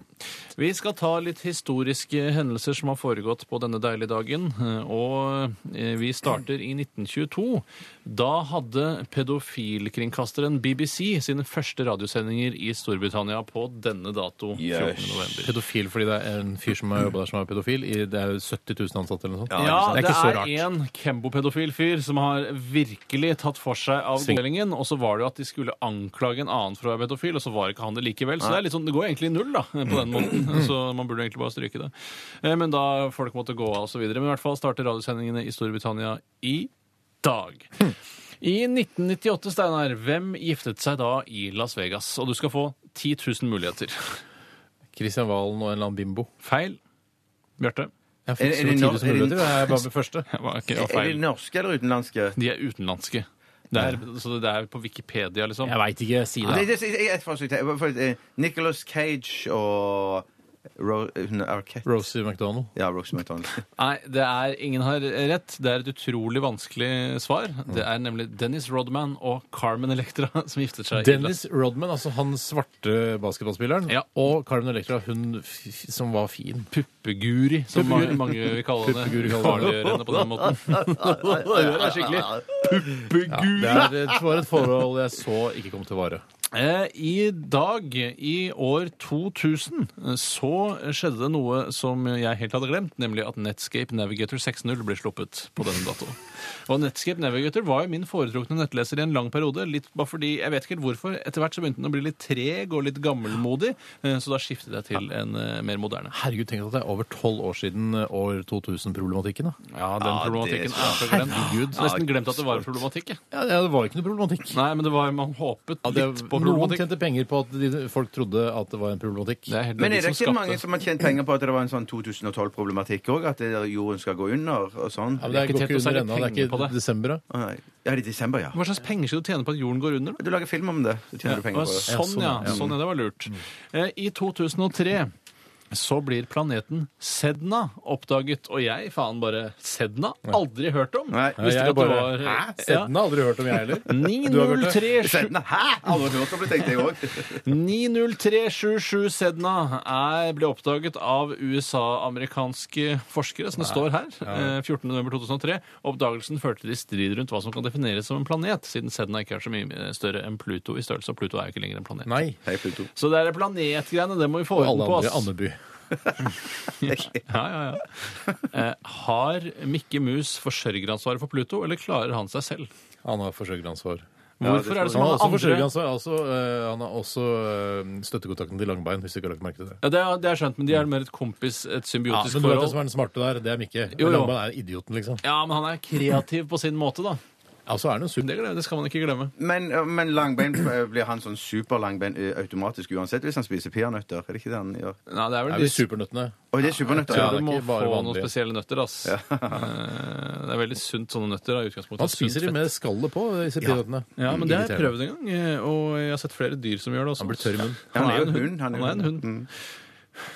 E: Vi skal ta litt historiske hendelser som har foregått på denne deilige dagen. eh, Og eh, vi starter i 1922. Da hadde pedofilkringkasteren BBC sine første radiosendinger i Storbritannia på denne dato. 14. november.
C: Pedofil fordi det er en fyr som har jobba der som er pedofil. I, det er jo 70 000 ansatte eller noe sånt.
E: Ja,
C: det er
E: det
C: ikke så
E: er
C: rart.
E: en kembopedofil fyr som har virkelig tatt for seg av godmeldingen, og så var det jo at de skulle anklage en annen for å være pedofil, og så var ikke han det likevel. Så det, er litt sånn, det går egentlig i null, da, på
C: Mm.
E: den måten. Så man burde egentlig bare stryke det. Eh, Men da folk måtte gå av og så videre. Men i hvert fall starter radiosendingene i Storbritannia i dag.
C: Hm.
E: I 1998, Steinar, hvem giftet seg da i Las Vegas? Og du skal få 10 000 muligheter.
C: Christian Valen og en eller annen bimbo.
E: Feil. Bjarte.
C: Jeg fikk
D: Er- er
C: så
D: det
C: tidlig som
D: no- er det-
C: mulig, det er bare med
E: [laughs]
C: første.
E: Jeg var ikke- jeg var
D: Er
E: feil.
D: de norske eller utenlandske?
E: De er utenlandske. Det er, Så det er på Wikipedia, liksom.
C: Jeg veit ikke. Si
D: Det,
C: det.
D: det, jeg, jeg, forsøk til. For, eh, Nicolas Cage og Ro, eh, hun er Arquette.
C: Rosie McDonald.
D: Ja, Roxy McDonald.
E: Nei, det er, ingen har rett. Det er et utrolig vanskelig svar. Det er nemlig Dennis Rodman og Carmen Electra som giftet seg. i
C: Dennis Rodman, altså han svarte basketballspilleren,
E: Ja.
C: og Carmen Electra, hun f som var fin.
E: La- Puppeguri, som
C: Puppeguri.
E: mange, mange vil kalle henne.
C: Puppeguri kaller man det.
E: Farliggjør henne på den
C: [laughs]
E: måten.
C: Det er skikkelig puppegul! det er- det var et forhold jeg så ikke kom til å vare.
E: Eh, I dag, i år 2000, eh, så skjedde det noe som jeg helt hadde glemt, nemlig at Netscape Navigator 6.0 ble sluppet på denne datoen. Og Netscape Navigator var jo min foretrukne nettleser i en lang periode, litt bare fordi, jeg vet ikke helt hvorfor, etter hvert så begynte den å bli litt treg og litt gammelmodig, eh, så da skiftet jeg til en eh, mer moderne.
C: Herregud, tenk at det er over tolv år siden eh, år 2000-problematikken. da.
E: Ja, den problematikken
D: det-
E: er så glemt. Jeg har nesten glemt at det var en problematikk, jeg.
C: Ja, det var ikke noe problematikk.
E: Nei, men det var, man håpet
C: Ja,
E: litt
C: det,
E: på
C: noen
E: problematikk.
C: tjente penger på at de, folk trodde at det var en problematikk.
E: Det er helt
D: Men er
E: de
D: det
E: som
D: ikke
E: skapte-
D: mange som har tjent penger på at det var en sånn 2012-problematikk òg? At det er jorden skal gå under og
C: Ja, men
D: sånn?
E: det
C: det
E: er ikke
C: går
E: tjent
C: ikke
E: å særlig
C: under ennå. Det er
E: penger på
C: ikke
E: det.
C: desember, da.
D: Å, nei. Ja, det er i desember, ja.
E: Hva slags penger skal du tjene på at jorden går under? da?
D: Du lager film om det, så tjener du penger på det.
E: Å, Sånn, ja. Sånn, ja. Det var lurt.
C: Mm.
E: Eh, I 2003 så blir planeten Sedna oppdaget, og jeg faen bare Sedna? Aldri hørt om.
D: Nei.
C: jeg
E: Visste ikke at det
C: bare,
E: var
C: Hæ? Sedden har aldri hørt om, jeg heller. Du har hørt det?
E: Ja.
D: Nei, Hæ?! Aldri hørt om det, tenkte jeg òg.
E: 90377 Sedna er, ble oppdaget av USA-amerikanske forskere, som det står her. eh, 14. november 2003. Oppdagelsen førte til strid rundt hva som kan defineres som en planet, siden Sedna ikke er så mye eh, større enn Pluto i størrelse, og Pluto er jo ikke lenger en planet.
C: Nei.
D: Hei, Pluto.
E: Så det er planetgreiene, det må vi
C: Og
E: få orden
C: alle
E: på.
C: andre.
E: ass.
C: Andeby.
E: Ja, ja, ja. Eh, har Mikke Mus forsørgeransvaret for Pluto, eller klarer han seg selv?
C: Han har forsørgeransvar.
E: Hvorfor er det som
C: Han har
E: han
C: også
E: andre
C: forsørgeransvar. Altså, eh, han har også eh, støttekontakten til Langbein, hvis du ikke har lagt merke til det.
E: ja, det, er, det er skjønt, men de er mer et kompis, et
C: Ja,
E: symbiotisk
C: men du vet det som
E: forhold.
C: er den smarte der, det er Mikke.
E: Jo, jo.
C: Langbein er idioten, liksom.
E: Ja, men han er kreativ på sin måte, da.
C: Ja, så er han jo sur.
E: Det, glem- det skal man ikke glemme.
D: [laughs] Men, men langbein eh, blir han sånn superlangbein eh, automatisk uansett hvis han spiser peanøtter? Er det ikke det han gjør?
E: Nei, det er
C: Det
E: vel
C: er
E: de
C: de supernøttene.
D: Å, det er supernøtter. Ja,
E: ja, du
C: det er
E: må
C: ikke
E: få
C: bare
E: noen
C: vanlige.
E: spesielle nøtter, ass. Eh, Det er veldig sunt sånne nøtter, da, i utgangspunktet.
C: Han spiser de
E: Sunt fett.
C: med skallet på, disse peanøttene.
E: Ja, men det har
C: Mm. Irriterende.
E: jeg prøvd en gang, eh, og jeg har sett flere dyr som gjør det også.
C: Han blir tørr i munnen.
D: Han er jo hund, han er
E: Han er en
D: jo
E: hund.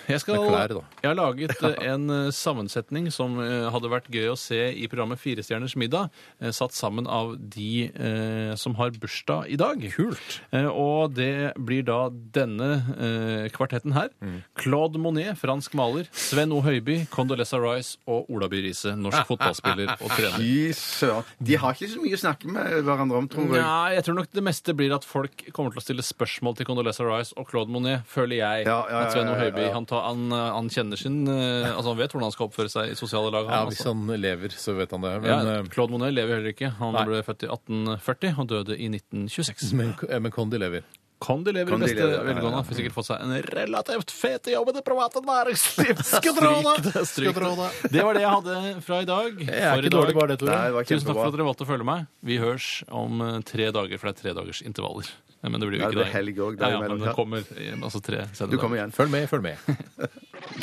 E: Jeg, skal,
C: Med Mm. klær, da.
E: jeg har
C: [laughs]
E: laget eh, en eh, sammensetning som eh, hadde vært gøy å se i programmet Firestjerners middag, eh, satt sammen av de eh, som har bursdag i dag. Kult. Og det blir da denne eh, kvartetten her.
C: Mm.
E: Claude Monet, fransk maler. Sven O. Høiby, Condoleezza Rice og Ola By
C: [laughs]
E: Riise, norsk fotballspiller og trener.
D: Fy søren. De har ikke så mye å snakke med hverandre om, tror jeg.
E: Nei, jeg tror nok det meste blir at folk kommer til å stille spørsmål til Condoleezza Rice og Claude Monet, føler jeg.
D: Ja, ja, ja,
E: at Sven
D: ja,
E: O.
D: ja,
E: Høiby
D: ja.
E: han, tar, han, eh, han kjenner sin eh, Altså, han vet hvordan han skal oppføre seg i sosiale lag.
C: Ja,
E: Han,
C: Hvis
E: altså.
C: han lever, så vet han det. Men,
E: ja,
C: eh,
E: Claude Monet lever heller ikke. Han
C: Nei.
E: ble født i 1840 og døde i 1926.
C: men, eh, men Condi lever.
E: Condi lever i
D: Condi
E: beste
D: lever, ja, ja, ja.
E: velgående. Han Får sikkert fått seg en relativt fet jobb i det private næringsliv. Skadrona! Stryk det. Det var det jeg hadde fra i dag.
C: Jeg er
E: For i
C: ikke dårlig
E: dag.
C: bare det, Tore.
D: Nei, det var
E: Tusen takk for
D: kjempebra.
E: at dere valgte å følge meg. Vi hørs om eh, tre dager, for det er tredagers intervaller. Nei, Men det blir jo
D: Ja,
E: ikke
D: det blir
E: dag.
D: helg også,
E: ja,
D: der
E: ja,
D: imellom,
E: men det
D: ja.
E: kommer eh, altså tre
D: Du
E: sendedager.
D: kommer igjen.
C: Følg med, følg med.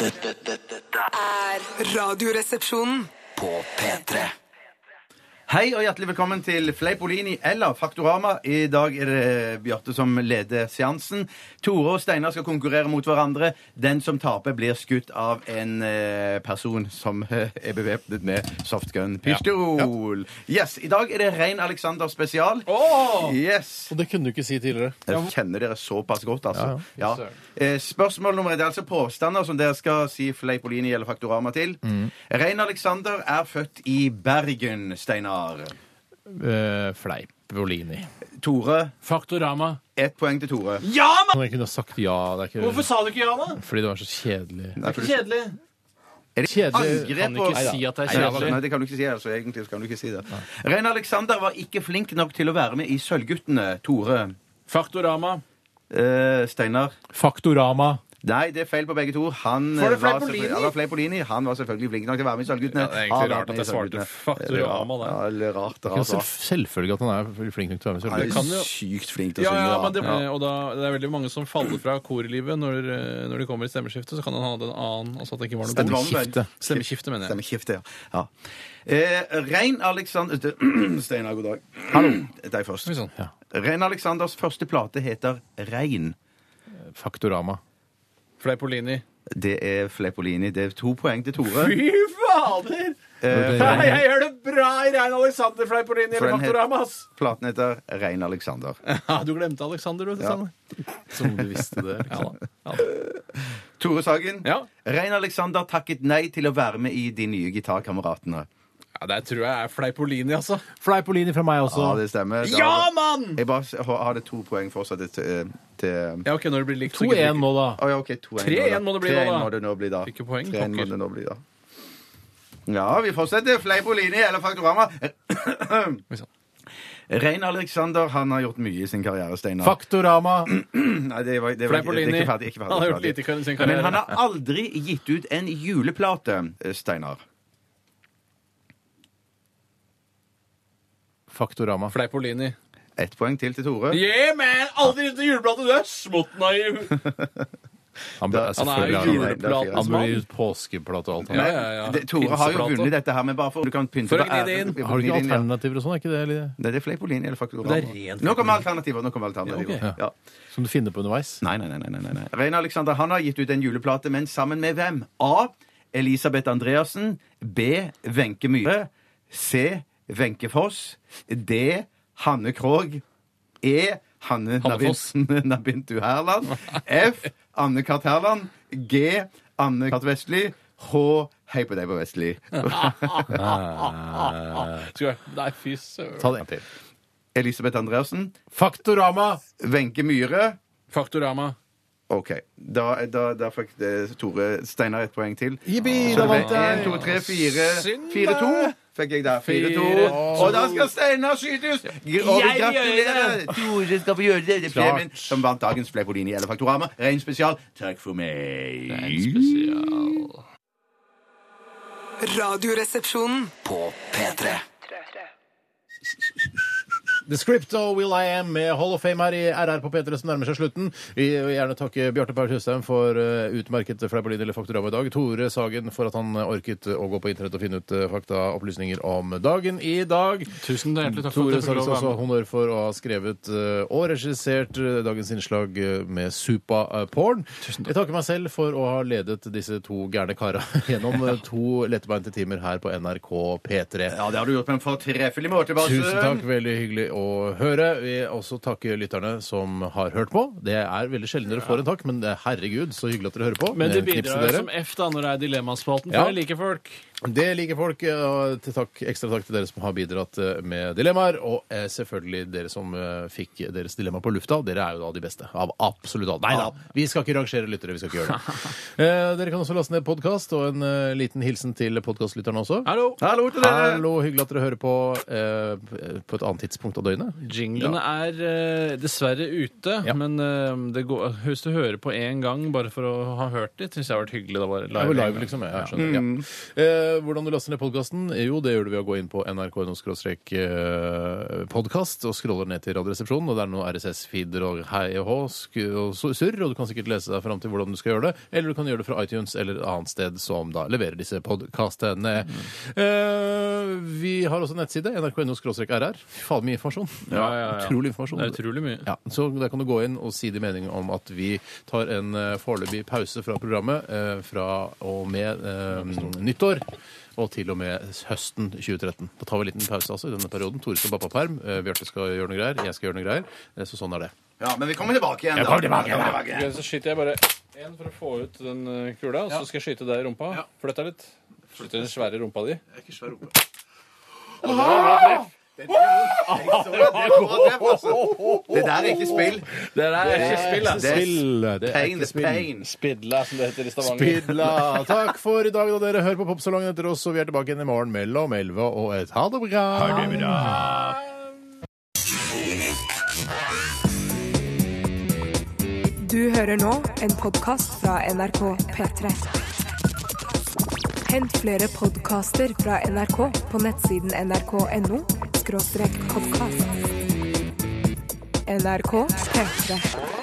B: Dette, dette, dette er
G: er Radioresepsjonen.
B: på P3
D: Hei og hjertelig velkommen til Fleipolini eller Faktorama. I dag er det Bjarte som leder seansen. Tore og Steinar skal konkurrere mot hverandre. Den som taper, blir skutt av en eh, person som eh, er bevæpnet med softgun-pistol. Yes, I dag er det Rein Alexander spesial. Yes!
C: [laughs] Og det kunne du ikke si tidligere.
D: Jeg kjenner dere såpass godt, altså. Ja,
E: ja.
D: Eh, Spørsmål nummer én. Det er altså påstander som dere skal si Fleipolini eller Faktorama til. Rein Alexander er født i Bergen, Steinar.
C: eh, Fleipolini.
D: Tore
E: Faktorama.
D: Ett poeng til Tore.
E: Ja, men
C: Jeg kunne ha sagt ja. Det er ikke,
E: hvorfor sa du ikke ja, da?
C: Fordi det var så kjedelig.
D: Nei, for du
E: Kjedelig.
D: er det
C: Kjedelig.
D: angrep
E: Kan
D: på-
E: ikke si at det er
D: Nei, altså,
E: kjedelig.
D: Nei, det kan du ikke si. altså Egentlig så kan du ikke si det. Rein Alexander var ikke flink nok til å være med i Sølvguttene. Tore.
E: Faktorama.
D: Eh, Steinar.
C: Faktorama.
D: Nei, det er feil på begge to. Han eh,
E: For det
D: var selvfølgelig-
E: Fleipolini?
D: Ja, det var Fleipolini. Han var selvfølgelig flink nok til å være med i Sølvguttene.
E: Ja, det er egentlig
D: Har vært
E: rart
D: med i
E: at jeg svarte
D: Sølvguttene.
E: Faktorama der.
D: Ja, det er rart,
C: Det er
D: rart,
C: selv-
D: rart.
C: selvfølgelig at han er flink nok til å være med.
D: Han
C: selvfølgelig.
D: er
E: kan jo-
D: sykt flink til å
E: Ja,
D: synge.
E: ja,
D: da.
E: men det, og da, det er veldig mange som faller fra korlivet når, eh, når de kommer i stemmeskiftet. Så kan han ha en annen altså at det ikke var noe
D: Stemme-
E: god-
C: Stemmeskifte.
E: Stemmeskifte, mener jeg.
D: Stemmeskifte, ja. ja. Eh, Rein Alexander [clears throat] Steinar, god dag. Hallo. Deg først.
E: Oi, sånn.
C: Ja.
D: Rein Aleksanders første plate heter Rein.
C: Faktorama.
E: Fleipolini.
D: Det er Fleipolini. Det er to poeng til Tore. Eh,
E: Fy fader!
C: Nei, jeg
E: gjør det bra i Rein Alexander Fleipolini
D: eller Faktorama,
E: ass!
D: Platen heter Rein Alexander.
E: [laughs] Ja, du glemte Alexander, du. Ja.
C: Som du visste det.
E: Ja,
C: Liksom.
E: da. Ja, da.
D: Tore Sagen.
E: Ja.
D: Rein Alexander takket nei til å være med i De nye gitarkameratene.
E: ja, Der tror jeg er Fleipolini, altså.
C: Fleipolini fra meg også.
D: Ja, det stemmer. Da-
E: Ja, mann!
D: Jeg bare s- har det to poeng fortsatt til, eh, til
E: Ja, ok, når det blir likt så gidder vi
C: 2-1 nå, da.
D: Å ja, OK. 2-1
E: 3-1 må det bli nå, da.
D: må det nå bli, da.
E: Fikk jo poeng,
D: 3-1 må
E: pokker.
D: det nå bli, da. Ja, vi fortsetter. Fleipolini eller Faktorama.
E: [coughs] ikke. Oi, sånn.
D: Rein Alexander han har gjort mye i sin karriere, Steinar.
C: Faktorama.
D: Nei, det var, det var, det
E: Fleipolini.
D: er ikke ferdig. Ikke ferdig,
E: Han har gjort
D: ferdig.
E: lite i sin
D: Men han
E: karriere.
D: har aldri gitt ut en juleplate, Steinar.
C: Faktorama.
E: Fleipolini.
D: Ett poeng til til Tore.
E: Yeah, man! Aldri rundt i julebladet! Du er [laughs] småttnaiv!
C: Han, bør-
E: Han er
C: selvfølgelig har
E: jo
C: han det.
E: juleplatens
C: Han burde
E: mann.
C: gitt påskeplate og alt.
E: Ja,
C: han.
E: ja, ja.
D: Det, Tore har jo
E: Pinseplate.
D: vunnet dette her, men bare for du kan pynte
E: For å
D: på
E: gni det
D: æren.
E: inn.
C: Har du ikke
D: Gni det inn, ja.
C: alternativer og sånn? Er ikke det eller,
D: Nei, det er Fleipolini eller Faktorama.
E: Det er rent
D: Nå kommer alternativer. Nå kommer alternativer.
E: Ja,
D: ja.
C: som du finner på underveis?
D: Nei, nei, nei. nei, nei, nei. Rein Alexander han har gitt ut en juleplate, men sammen med hvem? A. Elisabeth Andreassen. B. Wenche Myhre. C. Wenche Foss. D. Hanne Krogh. E. Hanne
E: Hanne Foss.
D: Nabinten- [laughs] Nabintu Herland. F. Anne Kart Herland. G. Anne Kart Vestli. H. Hei på deg på Vestli.
E: Skal jeg- Nei, fy søren.
C: Ta det en til.
D: Elisabeth Andreassen.
C: Faktorama!
D: Wenche Myhre.
E: Faktorama.
D: OK. Da, da, da fikk eh, Tore Steinar et poeng til.
C: Jippi,
D: Så
C: da
D: det
C: vant
D: ble
C: jeg!
D: 1, 2, 3, 4
E: Synd,
D: 4, 2
E: da.
D: Fikk jeg der 4, 2
E: Fire, to.
D: Og da skal Steinar skytes Og vi gratulerer Tore skal få gjøre det Det er
E: Klart.
D: premien som vant dagens Fleipolini eller Faktorama Rein spesial Takk for meg
G: Radioresepsjonen.
B: på P3.
C: The Script og Will I Am med Hall of Fame her i RR på P3 som nærmer seg slutten. Vi vil gjerne takke Bjarte Paul Tjøstheim for eh, utmerket Fleipolin eller Faktorama i dag. Tore Sagen for at han orket å gå på internett og finne ut eh, faktaopplysninger om dagen i dag.
E: Tusen hjertelig takk for
C: Tore
E: at jeg fikk
C: Sagen
E: lov å
C: også
E: være med.
C: honnør for å ha skrevet eh, og regissert eh, dagens innslag eh, med Supa-porn. Jeg takker meg selv for å ha ledet disse to gærne kara [laughs] gjennom eh, to lettbeinte timer her på NRK P3.
D: Ja, det har du gjort på en fortreffelig måte, Basse.
C: Tusen takk, veldig hyggelig å høre. Vi også takker lytterne som har hørt på. Det er veldig sjelden dere får en takk, men det er herregud, så hyggelig at dere hører på.
E: Men de
C: Eh, knips til
E: bidrar
C: dere.
E: jo som F da når det er Dilemmaspalten,
C: Ja.
E: for jeg liker folk.
C: Det liker folk. og til takk, Ekstra takk til dere som har bidratt eh, med dilemmaer. Og eh, selvfølgelig dere som eh, fikk deres dilemma på lufta. Dere er jo da de beste av absolutt alle. Nei da, vi skal ikke rangere lyttere. vi skal ikke gjøre det. Eh, Dere kan også laste ned podkast, og en eh, liten hilsen til podkastlytterne også.
E: Hallo!
D: Hallo til dere.
C: Hallo, hyggelig at dere hører på eh, på et annet tidspunkt av døgnet.
E: Jinglene er eh, dessverre ute,
C: Ja.
E: men eh, det går, hvis du hører på én gang bare for å ha hørt det, syns jeg har vært hyggelig. Det var live,
C: Det var
E: en
C: live,
E: gang.
C: liksom. Jeg skjønner. Ja. Eh, hvordan du laster ned podkasten? Jo, det gjør du ved å gå inn på nrk.no-podkast og scroller ned til Radioresepsjonen. Og det er noen RSS-feeder og hei og hå sk- og så- surr, og du kan sikkert lese deg fram til hvordan du skal gjøre det. Eller du kan gjøre det fra iTunes eller et annet sted som da leverer disse podkastene. Eh, vi har også en nettside, nrk.no-rr. Fader mye informasjon.
E: Ja, ja, ja.
C: Utrolig informasjon.
E: Det er utrolig mye.
C: Ja, så Der kan du gå inn og si din mening om at vi tar en eh, foreløpig pause fra programmet eh, fra og med eh, nyttår. Og til og med høsten 2013. Da tar vi en liten pause altså i denne perioden. Tore skal bare på perm, eh, Bjarte skal gjøre noe greier, jeg skal gjøre noe greier. Eh, Så sånn er det.
D: Ja, men vi kommer tilbake igjen. da. Vi kommer tilbake igjen.
E: Ok, Så skyter jeg bare én for å få ut den eh, kula, og så skal jeg skyte deg i rumpa. Flytt deg litt. Flytt den svære rumpa di.
D: Det der er ikke spill.
E: Det er ikke spill,
D: Det er
C: det
D: pain, det er pain.
E: Spidla, som det heter i Stavanger.
C: Spidla. Takk for i dag, da dere hører på Popsalongen etter oss. Og vi er tilbake igjen i morgen mellom 11 og 1. Ha det bra!
A: Du hører nå en podkast fra NRK P3. Hent flere podkaster fra NRK på nettsiden nrk.no podkast. NRK P3.